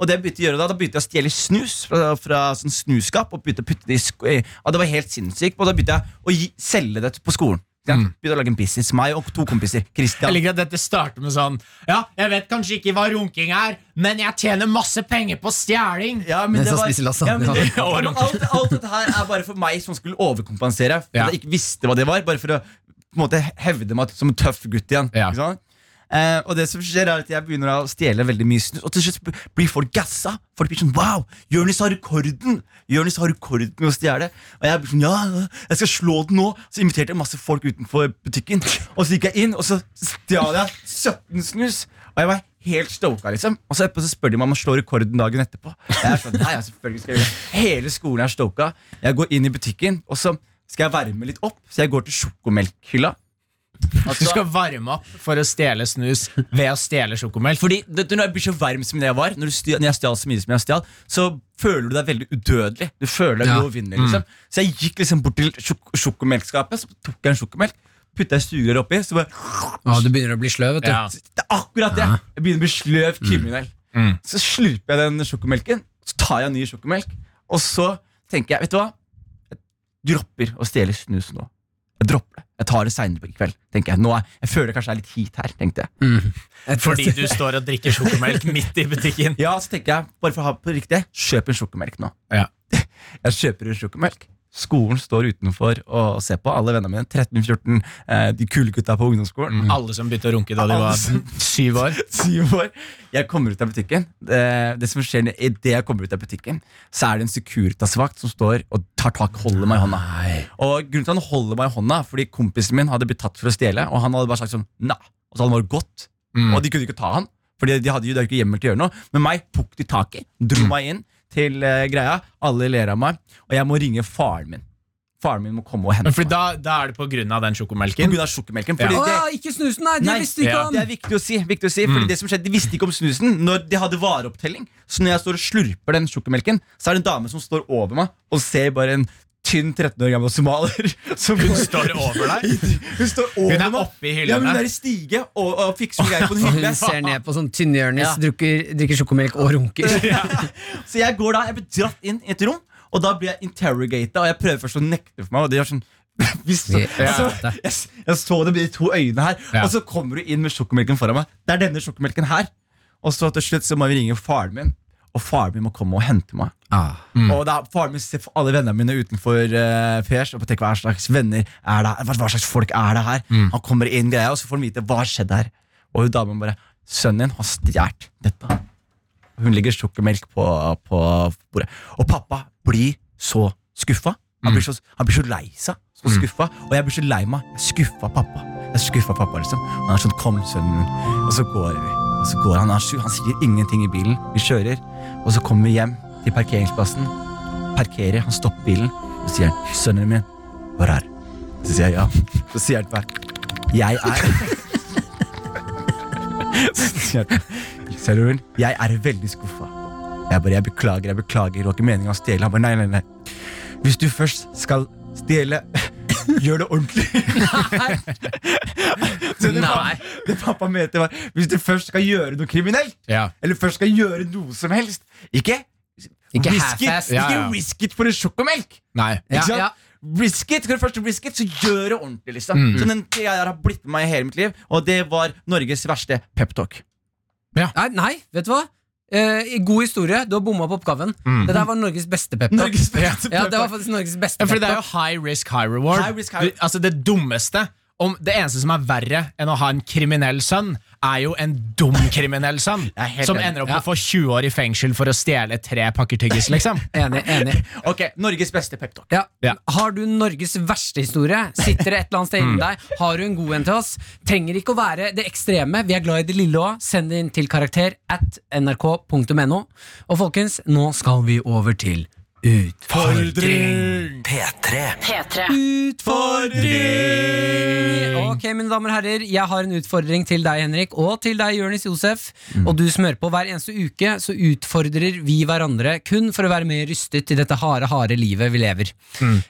S3: Og det jeg begynte å gjøre Da da begynte jeg å stjele snus fra, fra sånn snuskap. Og begynte å putte det i sko i- Og det var helt sinnssykt. Og da begynte jeg å gi, selge det på skolen. Ikke sant? Begynte å lage en business. Meg og to kompiser.
S4: Jeg
S3: Christian.
S4: liker at dette starter med sånn Ja, jeg vet kanskje ikke hva runking er, men jeg tjener masse penger på stjeling.
S3: Ja, men
S2: Den
S3: det
S2: som
S3: var-
S2: spiser lasagne.
S3: Ja, men det-
S4: Ja,
S3: men alt, alt dette her er bare for meg som skulle overkompensere. For
S4: Ja.
S3: At jeg ikke visste hva det var Bare for å på en måte, hevde meg som en tøff gutt igjen.
S4: Ja.
S3: Ikke sant? Eh, og det som skjer er at Jeg begynner å stjele veldig mye snus, og til slutt b- blir folk gassa. Folk blir sånn Wow! Jonis har rekorden Jonis har rekorden med å stjele. Og jeg blir sånn Ja, jeg skal slå den nå. Så inviterte jeg masse folk utenfor butikken. Og så gikk jeg inn, og så stjal jeg 17 snus. Og jeg var helt stoka, liksom. Og så, etterpå så spør de meg om han slår rekorden dagen etterpå. Jeg er sånn, nei, ja, selvfølgelig skal jeg gjøre det. Hele skolen er stoka. Jeg går inn i butikken, og så skal jeg varme litt opp. Så jeg går til sjokomelkhylla.
S4: Du skal varme opp for å stjele snus ved å stjele sjokomelk.
S3: Fordi det, når jeg blir så varm som det jeg var, når, du stjal, når jeg stjal så mye som jeg stjal, så føler du deg veldig udødelig. Du føler deg
S6: Ja.
S3: uovervinnelig. Liksom.
S4: Mm.
S3: Så jeg gikk liksom bort til sjok sjokomelkskapet, så tok jeg en sjokomelk, putta et sugerør oppi, så bare
S6: Ja, du begynner å bli sløv, vet du.
S4: Ja. Mm.
S3: Det er akkurat det! Jeg begynner å bli sløv kriminell. Så slurper jeg den sjokomelken, så tar jeg en ny sjokomelk, og så tenker jeg, vet du hva? Jeg dropper å stjele snus nå. Jeg dropper det. Jeg tar det seinere i kveld. tenker Jeg Nå er, jeg føler kanskje det er litt heat her, tenkte jeg.
S4: Fordi
S3: [laughs]
S4: du står og drikker sjokomelk midt i butikken.
S3: Ja, så tenker jeg, bare for å ha på riktig, kjøp en sjokomelk nå.
S4: Ja.
S3: [laughs] Jeg kjøper en sjokomelk. Skolen står utenfor og ser på. Alle vennene mine, 13-14, eh, de kule gutta på ungdomsskolen.
S4: Alle som begynte å runke da de
S3: Alle
S4: var
S3: som-
S4: syv år.
S3: [laughs] Syv år. Jeg kommer ut av butikken. Det, det som skjer når- i det jeg kommer ut av butikken, så er det en Securitas-vakt som står og tar tak, holder meg i hånda. Og grunnen til at han holder meg i hånda, er fordi kompisen min hadde blitt tatt for å stjele, og han hadde bare sagt sånn, nei. Og så hadde han bare gått.
S4: Mm.
S3: Og de kunne ikke ta han, Fordi de hadde jo det er jo ikke hjemmel til å gjøre noe. Men meg tok de tak i, dro
S4: Mm.
S3: meg inn til eh, greia. Alle ler av meg, og jeg må ringe faren min. Faren min må komme og hente
S4: Men fordi
S3: meg.
S4: da, da er det på grunn av den
S3: På
S4: sjokomelken.
S3: grunn av sjokomelken.
S4: Ja.
S3: Fordi
S2: Å
S3: det,
S2: ja, ikke snusen, nei! Det
S3: Nei,
S2: visste vi ikke
S4: ja.
S2: om!
S3: det er viktig å si. Viktig å si Fordi
S4: Mm.
S3: det som skjedde, De visste ikke om snusen når de hadde vareopptelling. Så når jeg står og slurper den sjokomelken, så er det en dame som står over meg og ser bare en tynn 13 år gammel somalier. [laughs] Som hun
S4: Står det over
S3: [laughs]
S4: deg?
S3: Hun står over
S4: Hun er
S3: meg.
S4: oppe i hyllene.
S3: Ja, men hun er i stige og, og fikser greier på en
S6: Hun
S3: hylle.
S6: ser ned på sånn Tynn-Jørnis, drikker, drikker sjokomelk og runker.
S3: Så jeg går da, jeg blir dratt inn i et rom, og da blir jeg interrogata, og jeg prøver først å nekte for meg, og de gjør sånn [laughs] hvis, så,
S6: Ja.
S3: så, jeg, s- jeg så det med de to øynene her,
S4: Ja.
S3: og så kommer du inn med sjokomelken foran meg. Det er denne sjokomelken her. Og så til slutt så må vi ringe faren min, og faren min må komme og hente meg.
S6: Ah.
S3: Og da, faren min ser alle vennene mine utenfor uh, Pers og tenker hva slags venner er det her? Hva, hva slags folk er det her?
S6: Mm.
S3: Han kommer inn, greia, og så får han vite hva har skjedd her. Og hun damen bare Sønnen din har stjålet dette. Hun legger sjokomelk på, på bordet. Og pappa blir så skuffa. Han blir så, han blir så lei seg. Så skuffa. Og jeg blir så lei meg. Jeg skuffa pappa. Jeg skuffa pappa liksom Og Han er sånn 'Kom, sønnen min.' Og så går vi. Og så går han, han, er sju- han sier ingenting i bilen. Vi kjører. Og så kommer vi hjem til parkeringsplassen parkerer, han stopper bilen og sier han, sønnen min, hvor er? Så sier jeg ja. Så sier han bare, jeg er [laughs] Så sier han, «Ser du vel? jeg er veldig skuffa. Jeg bare, jeg beklager, jeg beklager, det var ikke meningen å stjele. Han bare, nei, nei, nei. Hvis du først skal stjele, [laughs] gjør det ordentlig. [laughs] Så det,
S6: Nei.
S3: Pappa, det pappa mente var, hvis du først skal gjøre noe kriminelt,
S4: Ja.
S3: eller først skal gjøre noe som helst. Ikke
S6: Ikke
S3: risk it,
S6: half-assed.
S4: Ja,
S3: ikke
S4: ja.
S3: risk it for en sjokomelk!
S4: Nei.
S3: Ikke
S6: Ja,
S3: sant?
S6: ja.
S3: Risk it, Skal du først risk it, så gjør det ordentlig. liksom
S4: Mm.
S3: Så den greia der har blitt med meg i hele mitt liv, og det var Norges verste peptalk.
S2: Nei, nei, vet du hva? Eh, god historie, du har bomma på oppgaven. Det der var Norges beste peptalk.
S3: Norges beste
S2: Ja, det var
S3: pep-talk.
S2: faktisk Norges beste
S4: Ja, fordi det er
S2: pep-talk.
S4: jo high risk, high reward.
S3: High risk, high-
S4: Du, altså Det dummeste om Det eneste som er verre enn å ha en kriminell sønn, er jo en dum kriminell sønn
S3: [laughs] Jeg er helt
S4: som
S3: enig.
S4: ender opp
S6: Ja.
S4: med å få 20 år i fengsel for å stjele tre pakker tyggis,
S3: [laughs]
S4: liksom.
S6: Enig, enig.
S3: Ok, Norges beste peptalk.
S2: Ja.
S4: Ja.
S2: Har du Norges verste historie? Sitter det et eller annet sted inni deg? Har du en god en til oss? Trenger ikke å være det ekstreme. Vi er glad i det lille òg. Send det inn til karakter at nrk.no. Og folkens, nå skal vi over til Utfordring!
S5: P3
S1: P3.
S2: Utfordring! Ok, mine damer og herrer, jeg har en utfordring til deg, Henrik, og til deg, Jonis Josef. Og du smører på hver eneste uke, så utfordrer vi hverandre kun for å være mer rystet i dette harde, harde livet vi lever.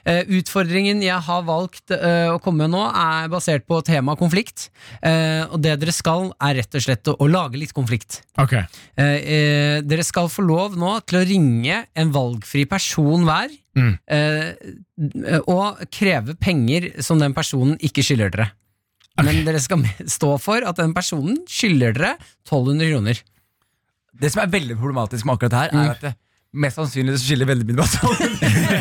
S2: Eh, utfordringen jeg har valgt eh, å komme med nå, er basert på temaet konflikt. Eh, og det dere skal, er rett og slett å, å lage litt konflikt.
S4: Ok
S2: Eh, eh, dere skal få lov nå til å ringe en valgfri person hver
S4: Mm.
S2: eh, og kreve penger som den personen ikke skylder dere. Men dere skal [laughs] stå for at den personen skylder dere 1200 kroner.
S3: Det som er veldig problematisk med akkurat det her, er at det,
S4: Mm.
S3: mest sannsynlig så skiller veldig mye bataljon.
S2: Ja, men da,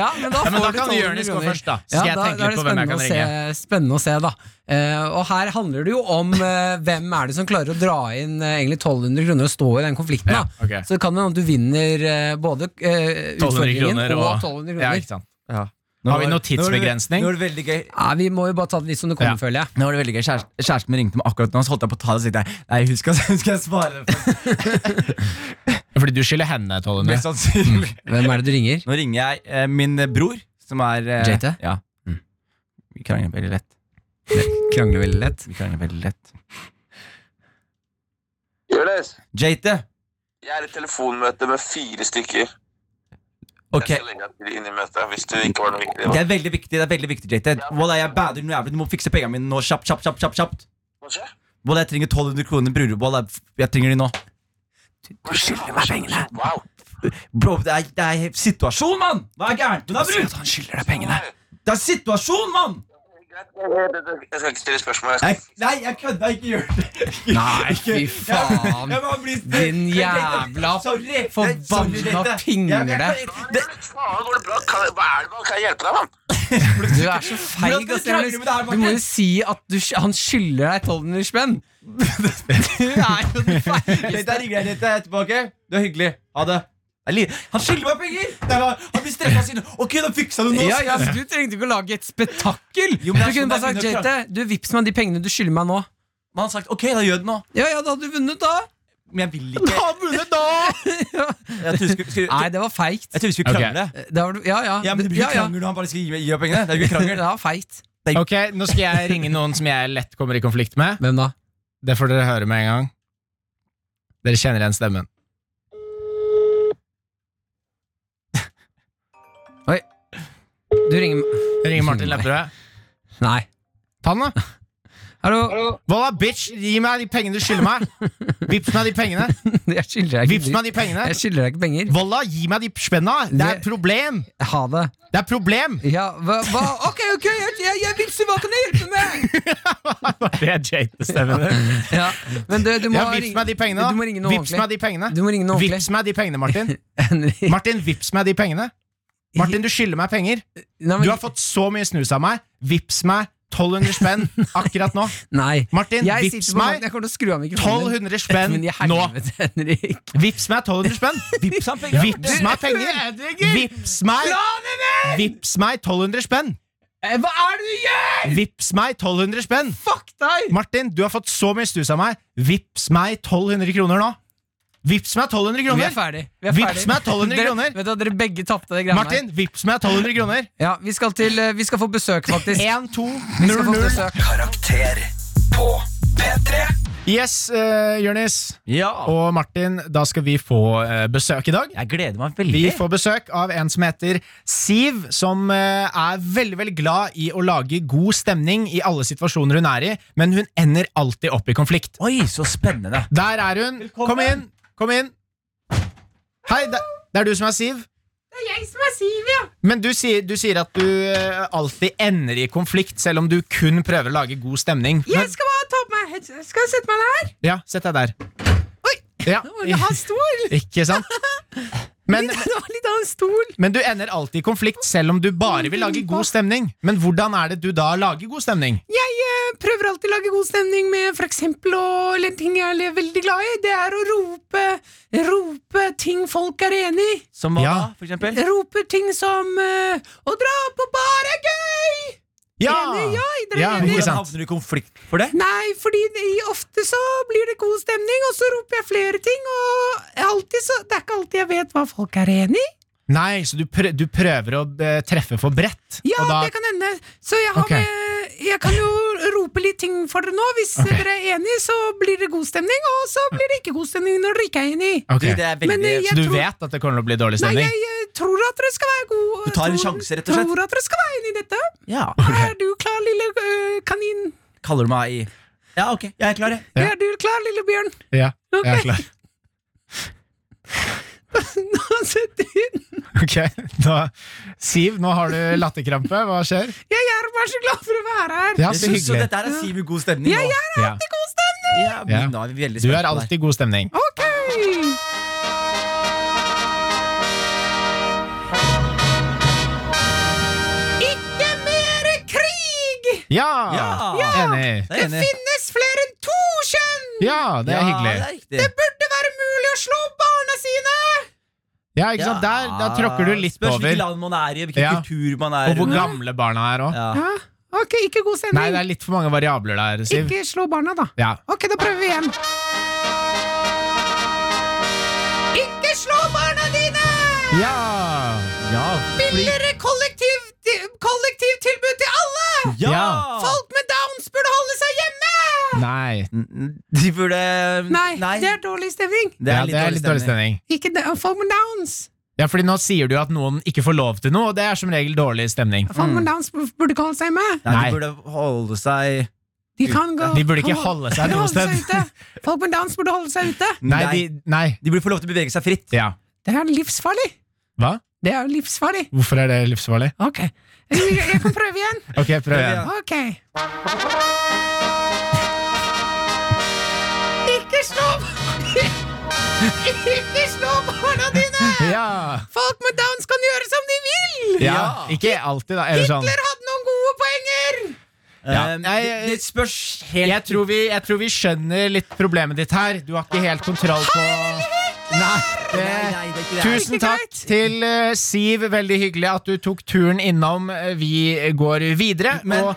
S4: Ja, men
S2: får
S4: da
S2: du
S4: kan
S2: 1200
S4: Jonis gå
S2: kroner.
S4: først, da. Så skal jeg
S2: da-
S4: tenke
S2: da er det
S4: litt på hvem jeg
S2: spennende
S4: kan
S2: å se- Spennende å se, da. Eh, og her handler det jo om eh, hvem er det som klarer å dra inn eh, egentlig 1200 kroner og stå i den konflikten.
S4: Ja,
S2: da
S4: ok.
S2: Så det kan jo hende at du vinner eh, både eh,
S4: 1200
S2: utfordringen
S4: kroner
S2: og
S4: og
S2: 1200 kroner.
S4: [laughs] Ja, ikke sant.
S3: Ja.
S4: Har vi
S3: var-
S4: noe
S3: nå var det-
S4: tidsbegrensning?
S3: Nå var det veldig gøy
S2: Ja, vi må jo bare ta det litt som det kommer,
S4: Ja.
S2: føler jeg.
S3: Nå var det veldig gøy Kjæresten, kjæresten min ringte meg akkurat nå Så holdt jeg på å ta det og sitte Nei, hun [laughs] skal, hun skal svare det for
S4: Fordi du skylder henne, Tollene.
S3: Mest
S4: Mm.
S3: sannsynlig
S2: Hvem er det du ringer?
S3: Nå ringer jeg eh, min eh, bror Som er eh,
S2: JT?
S3: Ja Vi krangler veldig lett
S2: Krangler veldig lett.
S3: Vi krangler veldig lett
S7: Jonis,
S3: JT
S7: jeg er i telefonmøte med fire stykker. Jeg
S3: Ok
S7: skal legge deg til inn i møtet hvis du ikke var noe viktig.
S3: Det er veldig viktig, det er veldig viktig, JT Walla, jeg bader noe jævlig Du må fikse pengene mine nå Kjapt, kjapt, kjapt, kjapt, kjapt
S7: Hva skjer?
S3: Walla, jeg trenger 1200 kroner Bror, Walla, jeg trenger de nå
S7: Hva skjer? Hva skjer? Wow.
S3: Bro, det er, det er situasjon, mann! Hva er gærent med deg, bror? Han skylder deg pengene. Det er situasjon, mann!
S7: Jeg skal ikke stille spørsmål. Jeg
S3: Jeg,
S7: skal
S3: nei, jeg kødda. Ikke gjør det.
S2: Nei, fy faen.
S3: Jeg bare blir-
S2: Din jævla
S3: Sorry. Jeg- sorry,
S2: Forbanna
S3: dette-
S2: pingle.
S3: Jeg- jeg- det-
S7: Faen, går det bra? Kan, hva er det, man? Kan jeg hjelpe deg, mann?
S2: Du er
S4: [laughs]
S2: så feig.
S3: Hvordan
S2: ass,
S3: skal du krangle med det her,
S2: Jonis. Du må jo si at du, sk- han skylder deg 1200 spenn. [laughs] Du er jo den
S3: Dette
S2: feigeste.
S3: er ringer jeg er tilbake. Du er hyggelig. Ha det. Jeg li- Han skylder meg penger! Det er bare- han blir stressa siden. Ok, da fiksa du nå.
S2: Ja, ja, så Du trengte ikke å lage et spetakkel.
S3: Jo,
S2: du
S3: men det er
S2: kunne
S3: sånn
S2: bare sagt
S3: det er under-
S2: JT, du vips meg de pengene du skylder meg nå.
S3: Men han har sagt ok, da gjør det nå.
S2: Ja, ja, da hadde du vunnet, [laughs] da.
S3: Men jeg vil ikke. Da vunnet, da! Jeg tror vi skulle, skulle,
S2: Nei,
S3: jeg
S2: det var feigt.
S3: tror vi skulle
S4: Ok.
S3: krangle.
S2: Da var du- Ja, ja.
S3: Ja, men det blir
S2: ja,
S3: ikke
S2: ja.
S3: krangel når han bare skal gi meg, gi meg pengene. Det er jo ikke [laughs] krangel.
S2: [laughs] Det var feigt.
S4: Ok, Nå skal jeg ringe noen som jeg lett kommer i konflikt med.
S2: Hvem da?
S4: Det får dere høre med en gang. Dere kjenner igjen stemmen.
S2: Du ringer
S4: Jeg ringer Martin Lepperød.
S2: Nei.
S4: Ta den, da.
S2: Hallo.
S4: Volla, bitch! Gi meg de pengene du skylder meg! [laughs] Vips meg de pengene!
S2: [laughs] Jeg skylder deg
S4: Vips
S2: ikke,
S4: meg de pengene!
S2: jeg skylder deg ikke penger.
S4: Volla, gi meg de spenna! Det er et problem!
S2: Ha det.
S4: Det er et problem!
S2: Ja, hva, hva? Ok, ok, jeg, jeg, jeg vippser. Hva kan jeg hjelpe med?
S4: [laughs] Det er [laughs] Jate-stemmen din.
S2: [laughs] Ja, men du, du må
S4: Ja, vips
S2: ringe-
S4: meg de pengene, da.
S2: Du må ringe noe
S4: vips meg
S2: ordentlig.
S4: de pengene.
S2: Du må ringe noe ordentlig. [laughs]
S4: Vips meg de pengene, Martin.
S2: Henrik.
S4: Martin, vips meg de pengene. Martin, du skylder meg penger.
S2: Nei, men-
S4: Du har fått så mye snus av meg. Vips meg 1200 spenn akkurat
S2: [laughs]
S4: nå.
S2: Nei.
S4: Martin,
S2: Jeg
S4: vips
S2: sitter på
S4: meg
S2: meg. Jeg kommer til å skru av mikrofonen.
S4: 1200 spenn
S2: Men i
S4: nå.
S2: helvete, Henrik.
S4: Vips meg 1200 spenn. Vips,
S3: han penger.
S4: vips meg penger. Vips meg Vips meg 1200 spenn.
S3: Eh,
S2: Hva er det du gjør?!
S4: Vips meg 1200 spenn.
S2: Fuck deg!
S4: Martin, du har fått så mye snus av meg. Vips meg 1200 kroner nå. Vips meg
S2: Vi
S4: 1200
S2: er
S4: kroner.
S2: ferdig. Vi er
S4: Vips
S2: ferdig.
S4: meg 1200
S2: Dere-
S4: kroner.
S2: Vet du, hva, Dere begge tapte det greiene
S4: Martin, vips meg 1200 kroner.
S2: her. Ja, vi skal, til, eh, vi skal få besøk, faktisk.
S4: 1, 2,
S2: Vi skal
S4: 0,
S2: få
S4: 0.
S2: besøk.
S5: Karakter på P3
S4: Yes, uh, Jonis
S3: Ja.
S4: og Martin, da skal vi få eh, besøk i dag.
S3: Jeg gleder meg
S4: Vi
S3: veldig.
S4: får besøk av en som heter Siv, som eh, er veldig veldig glad i å lage god stemning i alle situasjoner hun er i, men hun ender alltid opp i konflikt.
S3: Oi, så spennende.
S4: Der er hun!
S3: Velkommen.
S4: Kom inn! Kom inn! Hei, det, det er du som er Siv?
S1: Jeg som er Siv, ja.
S4: Men du sier, du sier at du eh, alltid ender i konflikt, selv om du kun prøver å lage god stemning. Men-
S1: skal bare ta på meg Skal jeg sette meg her?
S4: Ja, sett deg der. Ja.
S1: stol.
S4: [laughs] Ikke sant? Men,
S1: Det var litt av en stol.
S4: men du ender alltid i konflikt selv om du bare vil lage god stemning. Men hvordan er det du da lager god stemning?
S1: Jeg eh, prøver alltid å lage god stemning med for eksempel å eller ting jeg er veldig glad i. Det er å rope, rope ting folk er enig i.
S3: Som hva,
S4: Ja.
S3: da, for eksempel?
S1: Rope ting som eh, Å dra på bar er gøy! Enig, ja, dere er
S4: Ja,
S1: enige.
S4: ikke
S3: Hvordan
S4: sant?
S3: havner du i konflikt for det?
S1: Nei, fordi det, ofte så blir det god stemning, og så roper jeg flere ting, og alltid så, det er ikke alltid jeg vet hva folk er enig i.
S4: Nei, så du, prø du prøver å eh, treffe for bredt?
S1: Ja,
S4: og da,
S3: Ah.
S1: det kan hende. Så jeg, har
S4: Ok.
S1: med, jeg kan jo rope litt ting for dere nå. Hvis
S4: Ok.
S1: dere er enig, så blir det god stemning, og så blir det ikke god stemning når dere ikke er enig.
S4: Ok,
S3: Du, det er veldig,
S1: Men, eh, jeg
S4: Så du
S1: tror-
S4: vet at det kommer til å bli dårlig
S1: Nei,
S4: stemning?
S1: jeg, eh, tror at dere skal være gode.
S3: Du tar en
S1: tror-
S3: sjanse, rett og slett.
S1: Tror at dere skal være enig i dette.
S3: ja.
S1: Er du klar, lille eh, kanin?
S3: Kaller du meg i Ja, ok, jeg er klar, jeg.
S4: Ja.
S1: Er du klar, lille bjørn? [laughs]
S4: Ja, jeg er
S1: Ok.
S4: klar. [laughs]
S1: Nå setter vi den.
S4: Ok, da, Siv, nå har du latterkrampe. Hva
S1: [laughs]
S4: skjer?
S1: Jeg er bare så glad for å være her.
S4: Ja,
S3: jeg
S4: så
S3: synes jo
S4: hyggelig.
S3: dette her er Siv i god stemning.
S1: Ja,
S3: nå.
S4: Ja.
S1: God stemning!
S3: ja, men
S4: Ja.
S3: da er vi veldig
S4: Du
S3: spent
S4: er
S3: på det her.
S4: alltid god stemning.
S1: Ok! Ikke mere krig!
S4: Ja!
S3: Ja.
S4: Enig.
S3: Jeg er enig.
S1: Finnes flere enn to kjønn!
S4: Ja, det er
S3: Ja,
S4: hyggelig.
S3: det er riktig.
S1: Burde være mulig å slå barna sine!
S4: Ja, ikke sant? Der, da tråkker du litt
S3: Spørs hvilket
S4: over.
S3: land man er i, hvilken
S4: Ja.
S3: kultur man er
S4: Og hvor
S3: under.
S4: gamle barna er òg.
S3: Ja.
S1: Hæ? Ok, ikke god
S4: Nei,
S1: stemning.
S4: det er litt for mange variabler der, Siv.
S1: Ikke slå barna, da.
S4: Ja.
S1: Ok, da prøver vi igjen. Ikke slå barna dine!
S4: ja.
S1: Billigere kollektiv, kollektivtilbud til alle!
S3: Ja!
S4: Ja.
S1: Folk med downs burde holde seg hjemme!
S4: Nei.
S3: De burde
S1: Nei, det er dårlig stemning.
S3: Det
S4: ja, det er litt dårlig stemning.
S1: Ikke da- folk med downs.
S4: Ja, fordi nå sier du at noen ikke får lov til noe, og det er som regel dårlig stemning.
S1: Folk med downs burde ikke holde seg hjemme.
S3: Nei,
S4: Nei.
S3: de burde holde seg
S1: De, kan gå,
S4: De burde ikke
S1: kan
S4: holde seg
S1: kan
S4: noe
S1: [laughs] holde
S4: sted.
S1: ute. Folk med downs burde holde seg ute.
S4: Nei, de, nei.
S3: De burde få lov til å bevege seg fritt.
S4: Ja.
S1: Det er livsfarlig.
S4: Hva?
S1: Det er livsfarlig.
S4: Hvorfor er det livsfarlig?
S1: Ok. Jeg, jeg kan prøve igjen.
S4: Ok, prøv igjen.
S1: Ok. Ikke slå Ikke slå barna dine!
S4: Ja.
S1: Folk med downs kan gjøre som de vil!
S4: ja. Ikke alltid, da. Eller sånn.
S1: Hitler hadde noen gode poenger!
S4: Ja.
S3: Eh,
S4: Nei,
S3: det- det spørs helt
S4: Jeg tror, vi, jeg tror vi skjønner litt problemet ditt her. Du har ikke helt kontroll på Nei, det,
S3: Nei, nei, det er ikke det.
S4: Tusen takk til eh, Siv. Veldig hyggelig at du tok turen innom. Eh, Vi går videre. og,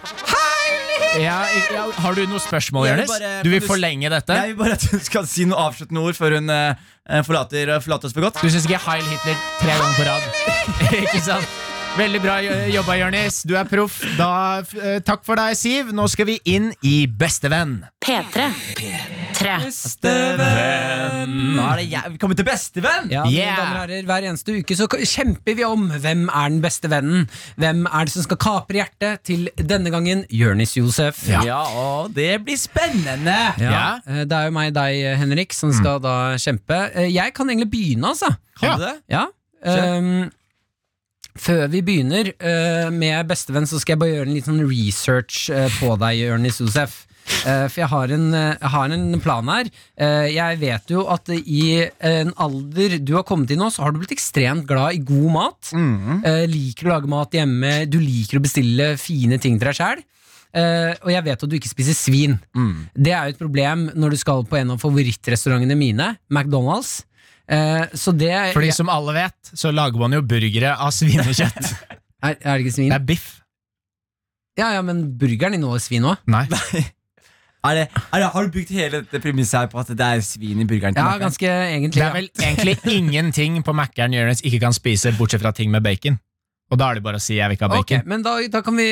S4: ja, i- ja, har du noe spørsmål,
S3: Jeg vil
S4: Jonis?
S3: bare-
S4: Du vil
S3: kan du s-
S4: forlenge dette?
S3: Jeg vil bare at hun skal si noe avsluttende ord før hun eh, forlater, forlater oss for godt.
S4: Du syns ikke Heil Hitler tre ganger på rad? [laughs] ikke sant? Veldig bra jo- jobba, Jonis. Du er proff. Da, eh, takk for deg, Siv. Nå skal vi inn i Bestevenn.
S8: P3. P3.
S3: Bestevenn! Nå er det jeg. Vi kommer til bestevenn!
S2: Ja, mine
S4: Yeah!
S2: damer og herrer, Hver eneste uke så kjemper vi om hvem er den beste vennen. Hvem er det som skal kapre hjertet til denne gangen? Jørnis Josef.
S3: Ja, og det blir spennende!
S2: Ja, eh, Det er jo meg og deg, Henrik, som skal da kjempe. Eh, Jeg kan egentlig begynne, altså.
S3: Kan du det?
S2: Ja. ehm, før vi begynner eh, med bestevenn, så skal jeg bare gjøre en liten research eh, på deg, Jørnis Josef. Eh, for jeg har en, eh, jeg har en plan her. Eh, jeg vet jo at i en alder du har kommet i nå, så har du blitt ekstremt glad i god mat. Eh, liker å lage mat hjemme, du liker å bestille fine ting til deg sjæl. og jeg vet at du ikke spiser svin. Det er jo et problem når du skal på en av favorittrestaurantene mine, McDonald's. Eh, så det
S4: Fordi som alle vet, så lager man jo burgere av svinekjøtt.
S2: Er, er det ikke svin?
S4: [laughs] Det er biff.
S2: Ja, ja, men burgeren inneholder svin òg.
S4: [laughs] Nei.
S3: Er det, er det, har du bygd hele dette premisset her på at det er svin i burgeren? til
S2: Ja,
S3: maten?
S2: ganske egentlig.
S4: Det er
S2: ja.
S4: vel egentlig ingenting på Mækkern Jonis ikke kan spise, bortsett fra ting med bacon. Og da er det bare å si 'jeg vil ikke ha
S2: Ok,
S4: bacon'.
S2: men da, da kan vi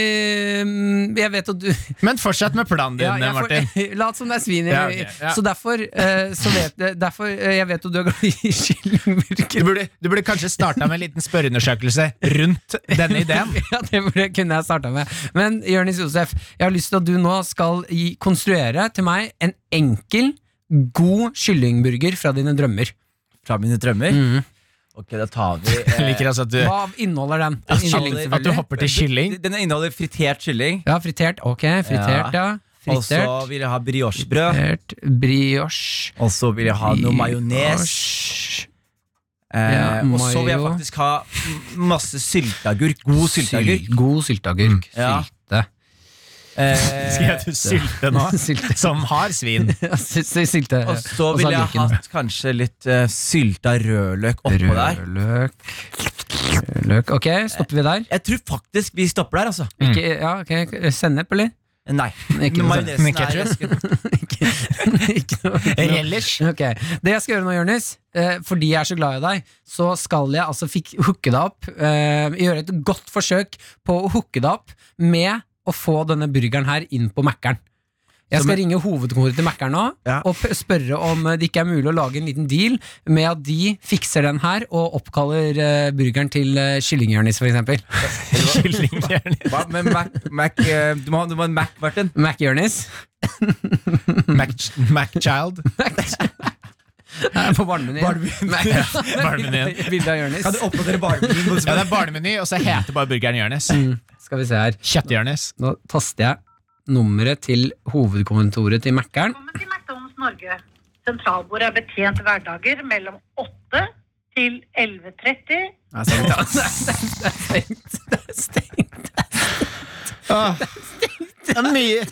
S2: mm, Jeg vet at du
S4: Men fortsett med planen din, eh,
S2: Ja, jeg får-
S4: Martin.
S2: [laughs] Lat som det er svin i
S4: Ja, ok, ja.
S2: Så derfor, eh, så vet, jeg- derfor eh, Jeg vet at du er glad i [laughs]
S4: Du
S2: kyllingburger.
S4: burde, [laughs] du burde kanskje starta med en liten spørreundersøkelse rundt denne ideen.
S2: [laughs] Ja, det burde, kunne jeg starta med. Men Jonis Josef, jeg har lyst til at du nå skal gi, konstruere til meg en enkel, god kyllingburger fra dine drømmer.
S3: Fra mine drømmer? Ok, da tar vi eh,
S4: Jeg liker altså Mhm. [laughs] at du,
S2: Hva inneholder den? Den
S4: at
S2: inneholder-
S4: kylling, at du hopper til kylling.
S3: Den inneholder fritert kylling.
S2: Ja, fritert. Ok, fritert, ja.
S3: Og så
S2: Fritert.
S3: vil jeg ha briochebrød.
S2: Fritert brioche.
S3: Og så vil jeg ha noe majones.
S2: Brioche.
S3: Eh,
S2: Ja,
S3: og så vil jeg
S2: mayo.
S3: faktisk ha m- masse sylteagurk. God sylteagurk. Mm.
S2: Syl- God sylteagurk.
S3: Ja. [laughs]
S2: Sylte.
S4: Skrev
S3: Eh,
S4: du [laughs] sylte nå?
S2: Sylte.
S4: Som har [laughs] svin.
S2: Ja, sy- sy- sylte.
S3: og så vil jeg ha
S2: agurken.
S3: kanskje litt eh, sylta rødløk oppå der.
S2: Rødløk. Rødløk. Ok, stopper vi der?
S3: Jeg tror faktisk vi stopper der, altså.
S4: Mm.
S2: Ikke, ja, ok, Sennep, eller?
S3: Nei.
S4: [laughs]
S2: Ikke noe
S3: Majonesen
S4: Men
S3: er
S4: ketchup?
S3: jeg-
S2: Ikke, [laughs] ikke noe, ikke noe.
S4: Relish.
S2: [laughs] Ok, Det jeg skal gjøre nå, Jonis, eh, fordi jeg er så glad i deg, så skal jeg altså fik hooke deg opp, eh, gjøre et godt forsøk på å hooke deg opp med å få denne burgeren her inn på Mækkern. Jeg skal ringe hovedkontoret til Mækkern nå
S3: Ja.
S2: og p- spørre om eh, det ikke er mulig å lage en liten deal med at de fikser den her og oppkaller eh, burgeren til eh, Kylling-Jonis, f.eks.
S4: [laughs] Kylling-Jonis.
S3: Hva med Mac, Mac eh, Du må ha, du må ha en Mac, Martin.
S2: Mac-Jonis.
S4: Mac-child.
S2: Nei, På barnemenyen. [laughs]
S4: Barnemenyen.
S2: Bilde av Jonis.
S3: Kan du oppdatere barnemenyen?
S4: [laughs]
S3: på
S4: Ja, det er barnemeny, og så heter bare burgeren Jonis.
S2: Skal vi se her.
S4: Kjøtt-Jonis.
S2: Nå taster jeg nummeret til hovedkontoret til [laughs] Mækkern.
S9: Velkommen til McDonald's Norge. Sentralbordet er betjent hverdager mellom 8 til 11.30.
S4: sånn. Mye,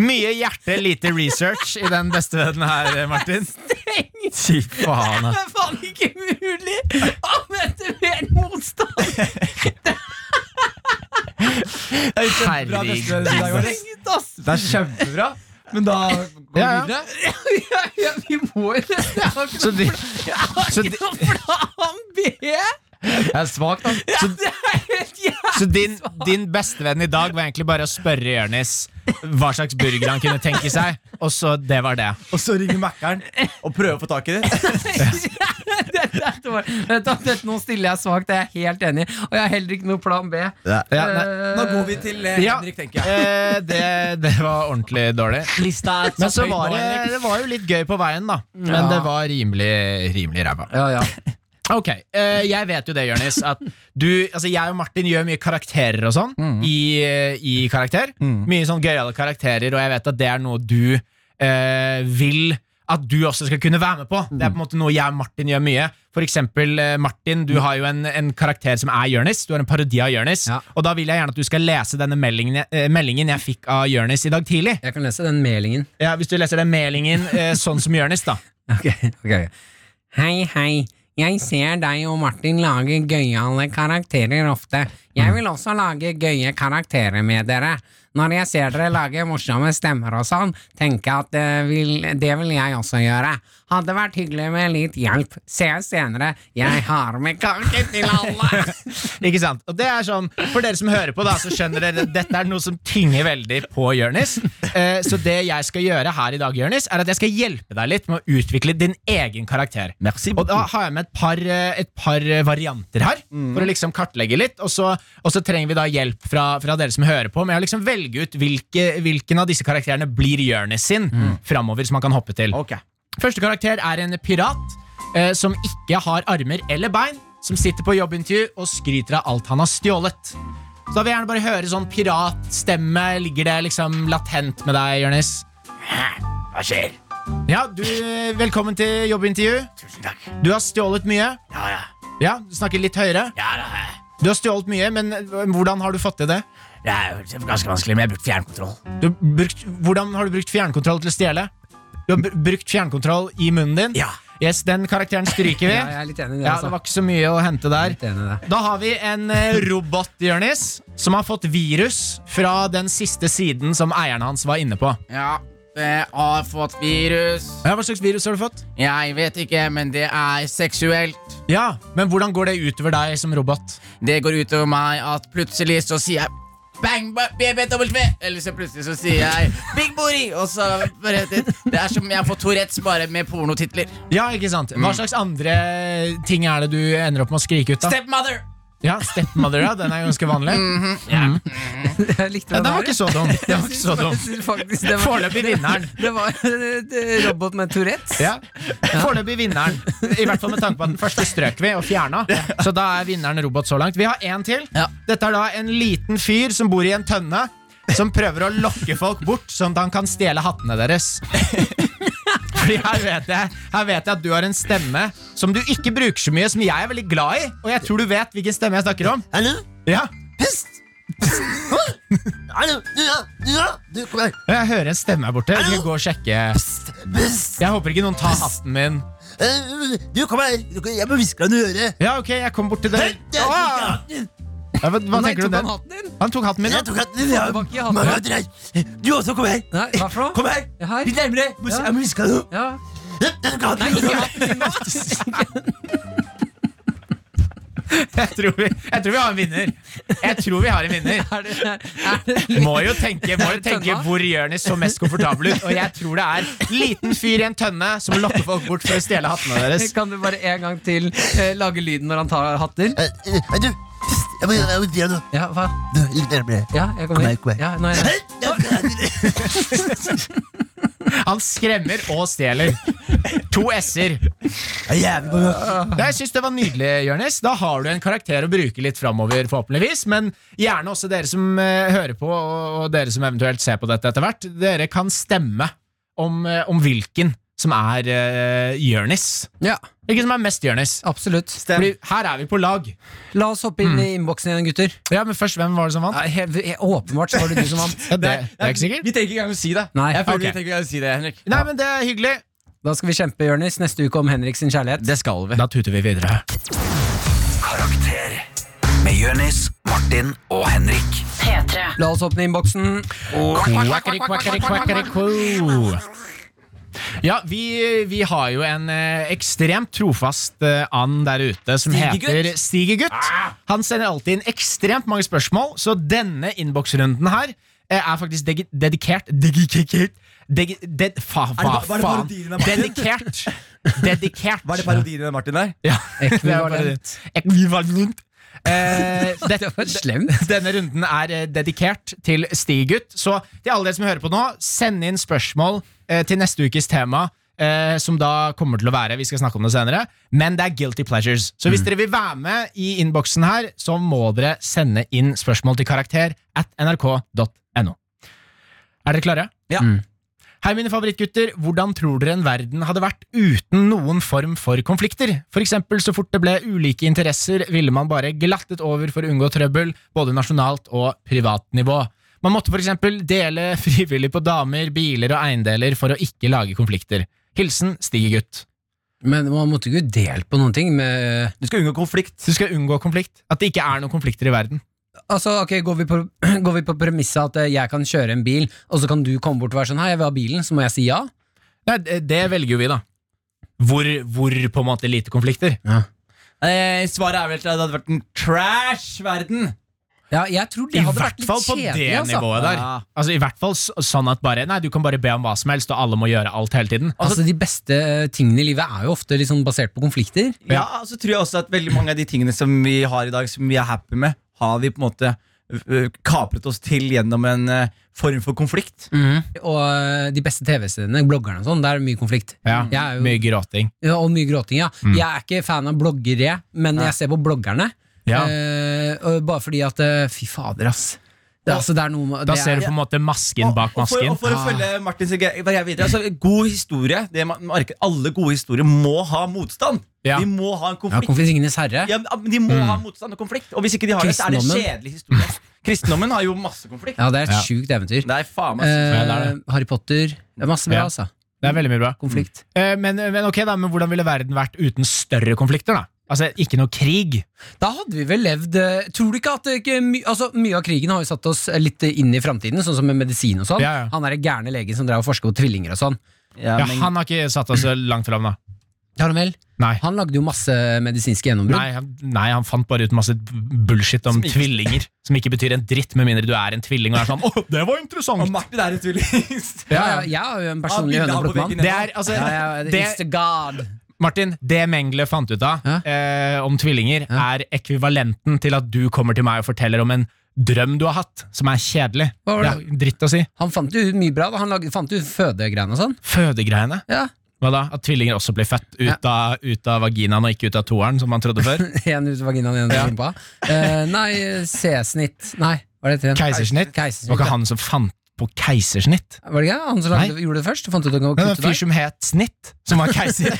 S4: mye hjerte, lite research i eh,
S3: altså.
S4: den bestevennen her, Martin. Fy faen. ass.
S2: Det er faen ikke mulig!
S3: Det er kjempebra neste dag, Alex. Det er kjempebra. Men da går vi
S4: Ja, ja.
S3: videre.
S2: ja, ja, vi må jo nesten Jeg har ikke
S4: Så de, så, de,
S2: noe plan B!
S3: Jeg er
S2: [laughs]
S3: svak, da.
S2: Ja, det er helt jævlig!
S4: så din, din bestevenn i dag var egentlig bare å spørre Jonis hva slags burger han kunne tenke seg, og så det var det.
S3: Og så ringer Mækkern og prøver å få tak i det.
S2: Dette var- vet du hva, dette- Nå stiller jeg svakt, det er jeg helt enig i. Og jeg har heller ikke noe plan B.
S4: Ja, nei.
S3: Da går vi til eh,
S4: Ja.
S3: Henrik, tenker jeg.
S4: Eh, det, det var ordentlig dårlig.
S2: Lista er
S4: Men så var det, det var jo litt gøy på veien, da. Men det var rimelig, rimelig ræva.
S2: Ja, ja.
S4: Ok, eh, jeg vet jo det, Jørnis At du, altså jeg og Martin gjør mye karakterer og sånn i, I karakter Mye sånn gøyale karakterer Og jeg vet at det er noe du eh, vil At du også skal kunne være med på Det er på en måte noe jeg og Martin gjør mye For eksempel eh, Martin, du har jo en, en karakter som er Jørnis Du har en parodi av Jørnis Og da vil jeg gjerne at du skal lese denne meldingen, eh, meldingen jeg fikk av Jørnis i dag tidlig
S2: Jeg kan lese den meldingen.
S4: ja, Hvis du leser den meldingen eh, sånn som Jørnis da
S2: Ok, ok. Hei, hei. Jeg ser deg og Martin lage gøyale karakterer ofte. Jeg vil også lage gøye karakterer med dere. Når jeg ser dere lage morsomme stemmer og sånn, tenker jeg at det vil, det vil jeg også gjøre. Hadde vært hyggelig med litt hjelp. Ses senere. Jeg har med kake til alle! [laughs]
S4: [laughs] Ikke sant? Og det er sånn, For dere som hører på, da, så skjønner dere at dette er noe som tynger veldig på Jørnis. Eh, så det jeg skal gjøre her i dag, Jørnis, er at jeg skal hjelpe deg litt med å utvikle din egen karakter.
S3: Merci.
S4: Og da har jeg med et par, eh, et par eh, varianter her,
S5: Mm.
S4: for å liksom kartlegge litt. Og så, og så trenger vi da hjelp fra, fra dere som hører på, med å liksom velge ut hvilke, hvilken av disse karakterene blir Jørnis sin
S5: Mm.
S4: framover, som han kan hoppe til.
S3: Ok.
S4: Første karakter er en pirat eh, som ikke har armer eller bein, som sitter på jobbintervju og skryter av alt han har stjålet. Så da vil jeg gjerne bare høre sånn piratstemme. Ligger det liksom latent med deg, Jonis?
S5: Hva skjer?
S4: Ja, du, eh, velkommen til jobbintervju.
S5: Tusen takk.
S4: Du har stjålet mye.
S5: Ja, ja.
S4: Ja, du snakker litt høyere.
S5: Ja, da har jeg.
S4: Du har stjålet mye, men eh, hvordan har du fått til det?
S5: Det er jo ganske vanskelig, men jeg har brukt fjernkontroll.
S4: Du har brukt, hvordan har du brukt fjernkontroll til å stjele? Du har br brukt fjernkontroll i munnen din?
S5: Ja.
S4: Yes, den karakteren stryker vi.
S2: jeg er litt enig i altså.
S4: Ja, det var ikke så mye å hente der. Da har vi en eh, robot, Jørnis, som har fått virus fra den siste siden som eieren hans var inne på.
S10: Ja, det har fått virus.
S4: Ja, hva slags virus har du fått?
S10: Jeg vet ikke, men det er seksuelt.
S4: Ja, Men hvordan går det utover deg som robot?
S10: Det går ut over meg at plutselig så sier jeg Bang, ba- BBW! Eller så plutselig så sier jeg Big Booty! Og så bare Det det er som jeg får Tourettes, bare med pornotitler.
S4: Ja, ikke sant? Hva slags andre ting er det du ender opp med å skrike ut av?
S10: Stepmother!
S4: Ja, Stepmother, ja. Den er ganske vanlig. [laughs]
S2: [laughs] Jeg likte
S4: Ja, den var ikke så dum. Den var ikke så dum.
S2: Faktisk,
S4: Foreløpig vinneren.
S2: [laughs] Det var eh, robot med Tourettes.
S4: Ja. Foreløpig vinneren. I hvert fall med tanke på at den første strøk vi og fjerna. Så da er vinneren robot så langt. Vi har én til.
S10: Ja.
S4: Dette er da en liten fyr som bor i en tønne. Som prøver å lokke folk bort, sånn at han kan stjele hattene deres. Fordi her vet, jeg, her vet jeg at du har en stemme som du ikke bruker så mye, som jeg er veldig glad i. Og jeg tror du vet hvilken stemme jeg snakker om.
S5: Hallo?
S4: Ja,
S5: Hallo? Ja, ja. Du, kom her.
S4: Jeg hører en stemme her borte. Vi går og sjekke.
S5: Best.
S4: Jeg håper ikke noen tar hatten min.
S5: Eh, Du, kom her. Du, kom- Jeg må hviske deg noe i øret.
S4: Ja, ok, jeg kom bort til deg. Åh! Ja, hva, hva
S2: Nei,
S4: tenker
S2: tok
S4: du om
S2: han
S4: den?
S2: hatten din?
S4: Han tok hatten min, ja.
S5: Jeg tok hatten din. Jeg har
S2: Tilbake i hatten.
S5: mange hatter her. Du også, kom her.
S2: Nei, hva for noe?
S5: Kom her.
S2: Ja, her.
S5: Litt nærmere. Må-
S2: Ja.
S5: Jeg må hviske deg noe.
S2: Ja.
S5: Ja, du kan ha den.
S4: Jeg tror, vi, jeg tror vi har en vinner. Jeg tror vi har en vinner.
S2: [laughs] Er det, er det
S4: Må jo tenke, må jo tenke
S2: Tønna?
S4: hvor Jonis så mest komfortabel ut. Og jeg tror det er liten fyr i en tønne som lokker folk bort for å stjele hattene deres.
S2: Kan du bare en gang til eh, lage lyden når han tar hatter?
S5: Eh, eh, Du, pst, jeg må jeg må si deg noe.
S2: Ja, hva?
S5: Du, litt nærmere.
S2: Ja, jeg kommer.
S5: Nei, kom her.
S2: Ja, nå er jeg.
S5: Eh, du kan ha den i øret.
S4: Han skremmer og stjeler. To s-er.
S5: Ja, Jævlig mange hatter.
S4: Jeg syns det var nydelig, Jonis. Da har du en karakter å bruke litt framover, forhåpentligvis. Men gjerne også dere som eh, hører på, og, og dere som eventuelt ser på dette etter hvert. Dere kan stemme om, eh, om hvilken som er uh, Jonis.
S2: Ja,
S4: Hvilken som er mest Jonis.
S2: absolutt.
S4: Fordi her er vi på lag.
S2: La oss hoppe inn i innboksen igjen, gutter.
S4: Ja, men først, hvem var det som vant?
S2: Ja, helt, helt åpenbart så var det du som vant.
S4: Ja, det, det er ikke sikkert.
S3: Vi trenger ikke engang å si det.
S2: Nei,
S3: Jeg føler
S4: ok.
S3: vi trenger ikke engang å si det, Henrik.
S4: Nei, men det er hyggelig.
S2: [laughs] Da skal vi kjempe, Jørnis, neste uke om Henrik sin kjærlighet.
S3: Det skal vi.
S4: Da tuter vi videre.
S5: Karakter med Jonis, Martin og Henrik.
S8: P3.
S2: La oss åpne innboksen.
S4: Quackeri, quackeri, quackeri, quoo. Ja, vi, vi har jo en eh, ekstremt trofast eh, and der ute som heter Stigegutt. Han sender alltid inn ekstremt mange spørsmål, så denne innboksrunden her eh, er faktisk degi- dedikert Dedikert degi- ded- fa, fa,
S3: ba- var det
S4: faen.
S3: parodien av Martin?
S4: Dedikert. Dedikert.
S3: Var det parodien av Martin der?
S4: Ja, det var det. Ekvivalent. Eh, det,
S2: [laughs] Det var slemt.
S4: denne runden [laughs] er eh, dedikert til Stig-gutt. Så til alle dere som hører på nå, send inn spørsmål eh, til neste ukes tema. eh, som da kommer til å være Vi skal snakke om det senere. Men det er guilty pleasures. Så hvis dere vil være med i innboksen her, så må dere sende inn spørsmål til karakter at nrk.no. Er dere klare?
S2: Ja.
S4: Hei, mine favorittgutter. Hvordan tror dere en verden hadde vært uten noen form for konflikter? For eksempel, så fort det ble ulike interesser, ville man bare glattet over for å unngå trøbbel, både nasjonalt og privat nivå. Man måtte for eksempel dele [laughs] frivillig på damer, biler og eiendeler for å ikke lage konflikter. Hilsen Stigegutt.
S6: Men man måtte ikke delt på noen ting med
S3: Du skal unngå konflikt.
S4: Du skal unngå konflikt. At det ikke er noen konflikter i verden.
S2: Altså, ok, Går vi på, [clears throat] går vi på premisset at eh, jeg kan kjøre en bil, og så kan du komme bort og være sånn 'hei, jeg vil ha bilen', så må jeg si ja?
S4: Nei, det- det velger jo vi, da. Hvor, hvor på en måte lite konflikter.
S3: Eh, svaret er vel at det hadde vært en trash-verden.
S2: Ja, jeg tror det
S4: I
S2: hadde
S4: hvert
S2: vært litt
S4: fall på
S2: kjedelig.
S4: det
S2: altså.
S4: nivået der.
S3: Ja.
S4: Altså I hvert fall s- sånn at bare Nei, du kan bare be om hva som helst, og alle må gjøre alt hele tiden.
S2: Altså, De beste tingene i livet er jo ofte liksom basert på konflikter.
S3: Ja, og så tror jeg også at veldig mange av de tingene som vi har i dag, som vi er happy med, har vi på en måte øh, kapret oss til gjennom en øh, form for konflikt.
S2: Og eh, de beste TV-seriene, bloggerne og sånn, der er det mye konflikt.
S4: Ja,
S3: Mm.
S2: Jeg er jo,
S4: Mye gråting.
S2: ja, og mye gråting, ja.
S4: Mm.
S2: Jeg er ikke fan av bloggere, men jeg ser på bloggerne.
S4: Ja.
S2: Eh, og bare fordi at eh, Fy fader, ass. Det, altså, det er noe med-
S4: Da
S2: det er-
S4: ser du på en måte masken bak
S3: Og for,
S4: masken. Ah.
S3: og for å følge Martins greie videre altså, God historie det man merker, Alle gode historier må ha motstand.
S4: Ja. Mm.
S3: De må ha en
S2: ja,
S3: konflikt.
S2: Konfliktingenes herre.
S3: Ja, men de må ha motstand og konflikt. Og hvis ikke de har det, så er det en
S2: Kristendommen.
S3: kjedelig historie. Kristendommen har jo masse konflikt.
S2: Ja, det er et
S4: Ja.
S2: sjukt eventyr.
S3: Det er faen meg
S2: Eh,
S4: Ja, det er
S2: Harry Potter. Det er masse bra,
S4: Ja.
S2: altså.
S4: Det er veldig mye bra.
S2: Konflikt.
S4: Eh, Men, men ok da, men hvordan ville verden vært uten større konflikter, da? Altså ikke noe krig?
S2: Da hadde vi vel levd eh, Tror du ikke at det ikke, my, altså, Mye av krigen har jo satt oss eh, litt inn i framtiden, sånn som med medisin og sånn.
S4: Ja, ja.
S2: Han er den gærne legen som drev og forska på tvillinger og sånn.
S4: Ja, Han har ikke satt oss så langt fram, da.
S2: Har han vel?
S4: Nei.
S2: Han lagde jo masse medisinske gjennombrudd.
S4: Nei han, nei, han fant bare ut masse bullshit om tvillinger, som ikke betyr en dritt, med mindre du er en tvilling og er sånn 'Å, det var
S3: Og
S4: interessant'.
S3: Martin er en tvillings.
S2: Ja, ja, jeg er jo en personlig
S3: Ja, bildet av på
S2: høneplukkmann.
S3: veggen.
S4: Det er, altså,
S2: Ja,
S4: [laughs]
S2: ja, det,
S4: det,
S2: it's the god.
S4: Martin, det Mengele fant ut av
S2: Ja.
S4: eh, om tvillinger, er ekvivalenten til at du kommer til meg og forteller om en drøm du har hatt, som er kjedelig.
S2: Hva var
S4: Det
S2: det?
S4: er dritt å si.
S2: Han fant jo ut mye bra. Da. Han lagde, fant jo ut fødegreiene og sånn.
S4: Fødegreiene.
S2: Ja,
S4: Hva da? At tvillinger også blir født ut,
S2: Ja.
S4: av, ut av vaginaen og ikke ut av toeren, som man
S2: [laughs]
S4: trodde før?
S2: [laughs] En ut vaginaen, en ut
S4: Ja.
S2: rumpa. Eh, nei, C-snitt. Nei, hva er det heter?
S4: Keisersnitt. Det var
S2: Keisersnitt.
S4: ikke han som fant på keisersnitt.
S2: Var det ikke han som lagde, gjorde det først? og Fant ut å
S4: Det var
S2: kutte
S4: en
S2: der?
S4: fyr som het Snitt, som
S2: [laughs]
S4: var keiser.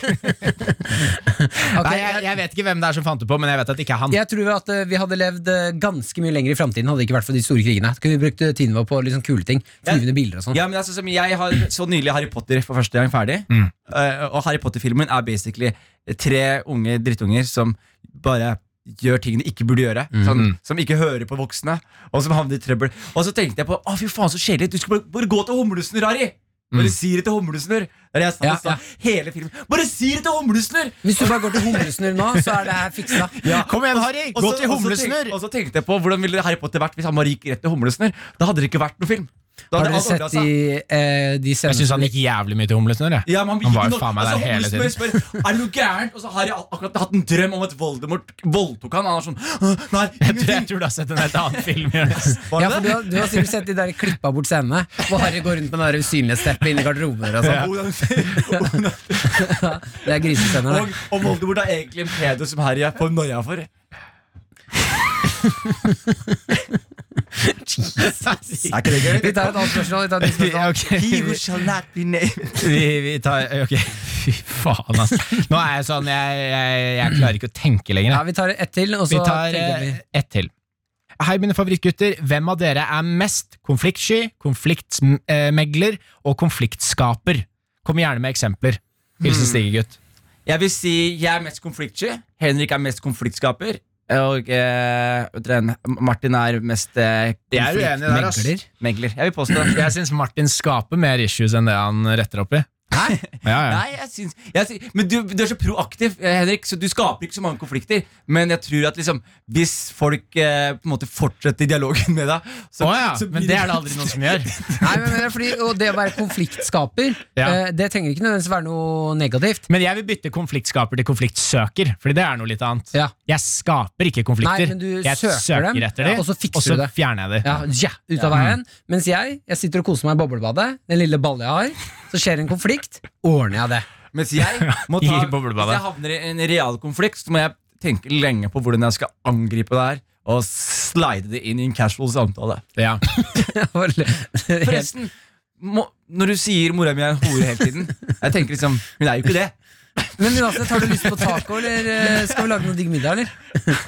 S2: Ok,
S4: Nei, jeg, jeg vet ikke hvem det er som fant det på, men jeg vet at det ikke er han.
S2: Jeg tror at eh, vi hadde levd eh, ganske mye lenger i framtiden hadde det ikke vært for de store krigene. Da kunne vi brukt eh, tiden vår på liksom kule ting. Flyvende biler og
S4: Mm.
S2: sånn.
S3: Ja, men altså, som jeg har så nylig Harry Potter for første gang ferdig.
S4: Mm.
S3: Eh, og Harry Potter-filmen er basically tre unge drittunger som bare gjør ting de ikke burde gjøre. Sånn,
S4: Mm.
S3: som ikke hører på voksne, og som havner i trøbbel. Og så tenkte jeg på Å, fy faen, så kjedelig. Du skulle bare, bare gå til Humlesnurr, Harry!
S4: Mm.
S3: Bare si det til Humlesnurr. Det er det jeg sa,
S2: Ja,
S3: sa hele filmen. Bare si det til Humlesnurr!
S2: Hvis du bare går til Humlesnurr nå, så er det her fiksa.
S4: Kom igjen, Harry!
S3: Og
S4: Gå
S3: så-
S4: til
S3: og så tenk-
S4: humlesnurr!
S3: Og så tenkte jeg på hvordan ville Harry Potter vært hvis han bare gikk rett til Humlesnurr. Da hadde det ikke vært noen film. Da
S2: Har
S3: hadde
S2: dere
S3: alt
S2: sett
S3: ordnet seg.
S2: de, eh, de
S4: altså. Jeg
S2: scenene
S4: syns
S2: som-
S4: han gikk jævlig mye til humlesnurr. jeg.
S3: Ja, men
S4: Han var jo
S3: gikk
S4: faen meg
S3: nok- altså,
S4: der hele
S3: Humlesnurr Spør, er det noe gærent? Og så har jeg al- akkurat hatt en drøm om at Voldemort voldtok han. Han er sånn «Åh, Nei,
S4: [laughs] Jeg tror, [laughs] jeg
S3: ingenting.
S4: tror du har sett en helt annen film.
S3: [laughs]
S4: Jonas.
S3: Var
S2: ja,
S3: det
S2: for du,
S3: det?
S2: har, du har sikkert sett de der klippa bort scenene hvor Harry går rundt med den der usynlighetsteppet inni garderoben. Og sånn.
S3: Hvordan-
S2: Det er grisescener.
S3: [laughs] og, og Voldemort er egentlig en pedo som Harry er på noia for. Er ikke det
S2: det. Vi
S3: gøy?
S2: tar et annet spørsmål. Vi tar et nytt spørsmål.
S4: [laughs] Ja, ok.
S3: [laughs] He who shall not be named.
S4: [laughs] Vi, vi tar Ok, fy faen, ass. Nå er jeg sånn Jeg, jeg, jeg klarer ikke å tenke lenger.
S2: Ja,
S4: jeg.
S2: vi tar ett til, og
S4: Vi
S2: så
S4: tar
S2: tenker vi
S4: eh, ett til. Hei, mine favorittgutter. Hvem av dere er mest konfliktsky, konfliktmegler og konfliktskaper? Kom gjerne med eksempler. Hilsen Stigegutt.
S3: Jeg vil si jeg er mest konfliktsky. Henrik er mest konfliktskaper. Og eh, vet dere, Martin er mest eh,
S4: Jeg er uenig der, ass.
S3: konfliktmegler. Megler. Jeg vil påstå det.
S4: Jeg syns Martin skaper mer issues enn det han retter opp i.
S3: Nei.
S4: Ja, ja.
S3: Nei, jeg syns, jeg syns Men du, du er så proaktiv, eh, Henrik, så du skaper ikke så mange konflikter. Men jeg tror at liksom hvis folk eh, på en måte fortsetter dialogen med deg så,
S4: Å ja,
S3: så blir
S4: men det er det aldri
S3: [laughs]
S4: noen som gjør.
S2: Nei, men, men det er fordi, og det å være konfliktskaper,
S4: [laughs] Ja.
S2: eh, det trenger ikke nødvendigvis være noe negativt.
S4: Men jeg vil bytte konfliktskaper til konfliktsøker, Fordi det er noe litt annet.
S2: Ja.
S4: Jeg skaper ikke konflikter.
S2: Nei, men du
S4: jeg
S2: søker dem,
S4: etter dem,
S2: og så fikser du det.
S4: fjerner jeg dem.
S2: Ja, ja, ut av veien. Mens jeg jeg sitter og koser meg i boblebadet, den lille ballen jeg har, så skjer en konflikt, ordner jeg det. [laughs]
S3: Mens jeg må ta
S4: [laughs] I boblebadet.
S3: Hvis jeg havner i en real konflikt, så må jeg tenke lenge på hvordan jeg skal angripe det her. Og slide det inn i en casual samtale.
S4: Ja.
S2: Helt-
S3: Forresten, må, når du sier mora mi er en hore hele tiden Jeg tenker liksom, Hun er jo ikke det.
S2: Men uansett, har du lyst på taco, eller eh, skal vi lage noe digg middag, eller?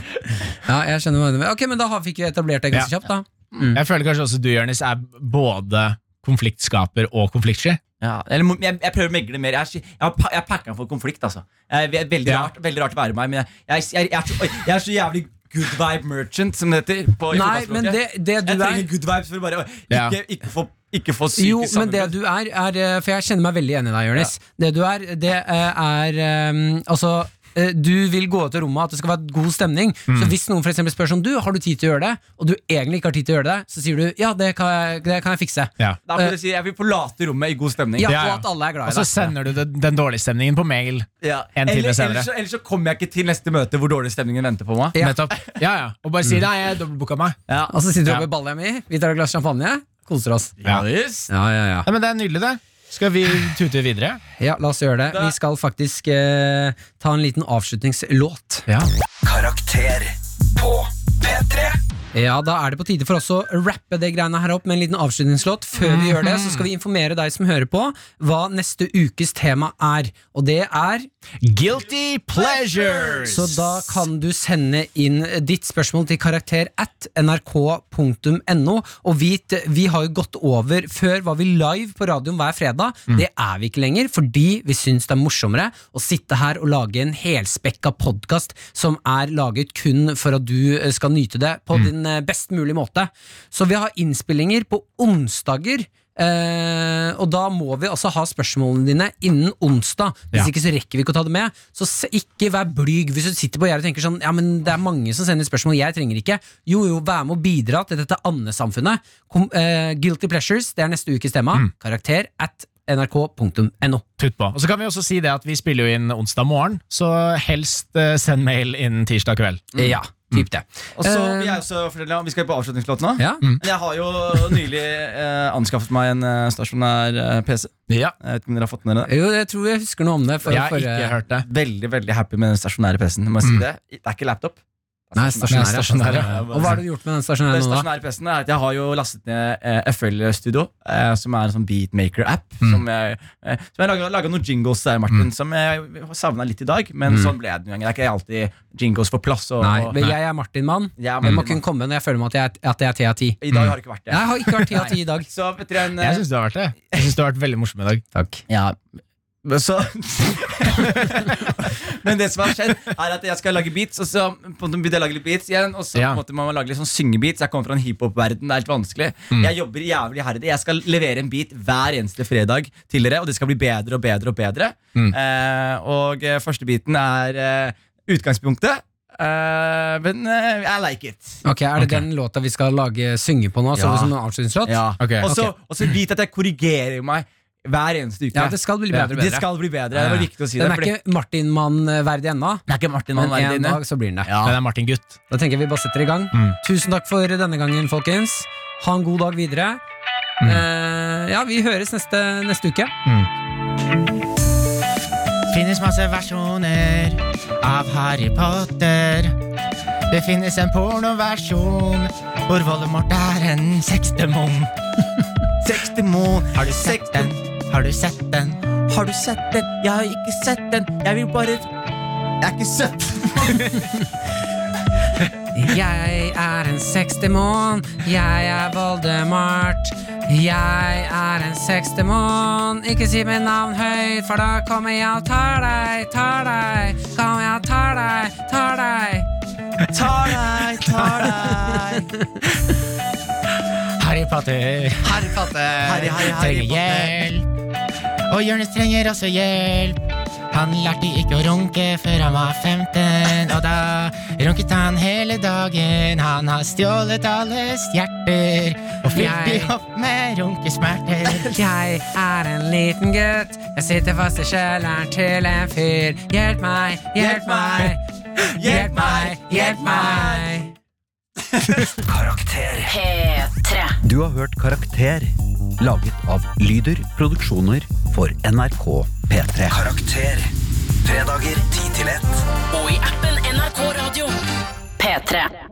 S2: Ja, jeg skjønner hva du mener. Ok, men da har- fikk vi etablert det ganske
S4: Ja.
S2: kjapt, da.
S4: Jeg føler kanskje også du, Jonis, er både konfliktskaper og konfliktsky.
S3: Eller, må- jeg, jeg prøver å megle mer. Jeg, er, sk- jeg, har pa- jeg packer den for konflikt. altså jeg, jeg, veldig,
S4: Ja.
S3: rart, veldig rart å være meg, men jeg, jeg, jeg, jeg, er, så, oi, jeg er så jævlig good vibe merchant, som det heter. På, i
S2: Nei,
S3: fotballspråket.
S2: men det, det du
S3: jeg
S2: er
S3: trenger good vibes for å bare oi,
S4: Ja.
S3: ikke, ikke, få, ikke få syke
S2: Jo, men det
S3: sammenbrudd.
S2: du er, er eh, For jeg kjenner meg veldig enig i deg, Jonis. Det du er, det eh, er eh, Altså eh, du vil gå ut av rommet at det skal være god stemning.
S4: Mm.
S2: Så hvis noen for eksempel spør sånn du, har du tid til å gjøre det, og du egentlig ikke har tid til å gjøre det, så sier du ja, det kan jeg, det kan jeg fikse.
S4: Ja.
S3: Da får jeg si jeg vil forlate rommet i god stemning.
S2: Eh. Ja,
S4: Ja,
S2: Og
S4: ja.
S2: at alle er
S4: Og
S2: glad i
S4: så
S2: deg.
S4: sender du den, den dårlige stemningen på mail.
S3: Ja.
S4: En time
S3: Eller-
S4: senere.
S3: Ellers, så- ellers så kommer jeg ikke til neste møte hvor dårlig stemningen venter på meg.
S2: Ja.
S4: Nettopp. Ja, ja. Og bare si 'nei, jeg dobbeltbooka meg'.
S2: Og så sitter du
S4: Ja.
S2: oppe i balja mi, vi tar et glass champagne, koser oss.
S4: Ja.
S2: Ja, ja, ja.
S4: Nei, men det er nydelig, det. Skal vi tute videre?
S2: ja la oss gjøre det. Vi skal faktisk eh, ta en liten avslutningslåt.
S4: Ja.
S5: Karakter på P3
S2: Ja, da er det på tide for oss å rappe det greiene her opp med en liten avslutningslåt. Før vi gjør det, så skal vi informere deg som hører på, hva neste ukes tema er. Og det er
S4: Guilty pleasures!
S2: Så da kan du sende inn ditt spørsmål til karakter at nrk.no. Og vit, vi har jo gått over Før var vi live på radioen hver fredag. Det er vi ikke lenger, fordi vi syns det er morsommere å sitte her og lage en helspekka podkast som er laget kun for at du eh, skal nyte det på din eh, best mulige måte. Så vi har innspillinger på onsdager. Eh, og da må vi altså ha spørsmålene dine innen onsdag. Hvis
S4: Ja.
S2: ikke så rekker vi ikke å ta det med. Så se, ikke vær blyg hvis du sitter på gjerdet og tenker sånn Ja, men det er mange som sender spørsmål, jeg trenger ikke. Jo, jo, vær med å bidra til dette andesamfunnet. Kom, eh, guilty pleasures, det er neste ukes tema.
S4: Mm.
S2: Karakter at nrk.no.
S4: Putt på. Og så kan vi også si det at vi spiller jo inn onsdag morgen, så helst eh, send mail innen tirsdag kveld.
S2: Ja, typ det.
S3: Og så
S2: Eh,
S3: vil jeg også fortelle om Vi skal på avslutningslåt nå.
S2: ja.
S3: Men Jeg har jo nylig eh, anskaffet meg en eh, stasjonær eh, PC.
S4: Ja.
S3: Jeg vet ikke om dere har fått med dere det.
S2: Jo, jeg tror jeg husker noe om det. For,
S4: Jeg har
S2: forrige-
S4: ikke hørt det.
S3: Veldig veldig happy med den stasjonære PC-en. Må jeg si det? det er ikke laptop.
S2: Mm. Nei, stasjonær, ja.
S4: stasjonær, ja.
S2: Og hva har du gjort med den stasjonære
S3: Den
S2: nå, da?
S3: stasjonære PC-en er at Jeg har jo lastet ned eh, FL Studio, eh, som er en sånn beatmaker-app.
S2: Mm.
S3: Som jeg, eh, som jeg laga, laga noen jingles der, Martin, som jeg savna litt i dag. Men sånn ble det noen ganger. Det er ikke alltid jingles for plass.
S2: Mm.
S3: Og,
S2: Nei,
S3: og,
S2: men jeg er Martin-mann.
S3: Jeg er
S2: Jeg må
S4: Mm.
S3: Martin-mann.
S2: kunne komme når jeg føler meg at jeg, er- at jeg er ti av ti.
S3: I dag har det ikke vært det.
S2: Jeg har ikke vært ti av ti i dag.
S3: Så vet dere en
S4: Jeg syns du har vært det. Jeg synes du har vært veldig morsom i dag.
S2: Takk.
S3: Ja men så [laughs] Men det som har skjedd, er at jeg skal lage beats, og så på en måte begynte jeg å lage litt beats igjen. Og så
S4: Ja.
S3: måtte man lage litt sånn syngebeats. Jeg kommer fra en hiphop-verden. Det er helt vanskelig.
S2: Mm.
S3: Jeg jobber jævlig herdig. Jeg skal levere en beat hver eneste fredag til dere, og det skal bli bedre og bedre og bedre.
S2: Mm.
S3: Eh, og eh, første beaten er eh, utgangspunktet. Eh, men eh, I like it.
S2: Ok, Er det den låta vi skal lage synge på nå? Så
S3: Ja.
S2: som en avslutningslåt?
S3: Ja.
S4: Ok.
S3: Og så og så vit at jeg korrigerer meg hver eneste uke.
S2: Ja, det skal bli bedre og
S3: Det
S2: bedre.
S3: skal bli bedre. Det var viktig å si
S2: Den
S3: det.
S2: er
S3: fordi-
S2: ikke Martin-mann-verdig ennå,
S3: Det er ikke Martin
S2: men
S3: han er
S2: en
S3: inne.
S2: dag så blir den det.
S4: Men det er Martin Gutt.
S2: Da tenker jeg vi bare setter i gang.
S4: Mm.
S2: Tusen takk for denne gangen, folkens. Ha en god dag videre.
S3: Mm.
S2: Eh, ja, vi høres neste, neste uke.
S10: finnes masse versjoner av Harry Potter. Det finnes en pornoversjon hvor Voldemort er en sexdemon. Sexdemon. Har du sett den? Har du sett den? Har du sett den? Jeg har ikke sett den. Jeg vil bare Jeg er ikke søt.
S2: Jeg er en sexdemon, jeg er Voldemort. Jeg er en sexdemon, ikke si mitt navn høyt, for da kommer jeg og tar deg, tar deg. Kommer jeg og tar deg, tar deg.
S4: Tar deg, tar deg. Harry Potter.
S2: Harry Potter.
S4: Harry, Harry, Harry trenger hjelp. Og Jonis trenger også hjelp. Han lærte ikke å runke før han var 15, og da runket han hele dagen. Han har stjålet alles hjerter og fylt de
S2: Jeg-
S4: opp med runkesmerter.
S2: Jeg er en liten gutt. Jeg sitter fast i kjelleren til en fyr. Hjelp meg, hjelp meg, hjelp meg, hjelp meg.
S5: Karakter.
S8: P3.
S5: Du har hørt Karakter, laget av Lyder Produksjoner for NRK P3. Karakter. Fredager 10 til 1.
S8: Og i appen NRK Radio. P3.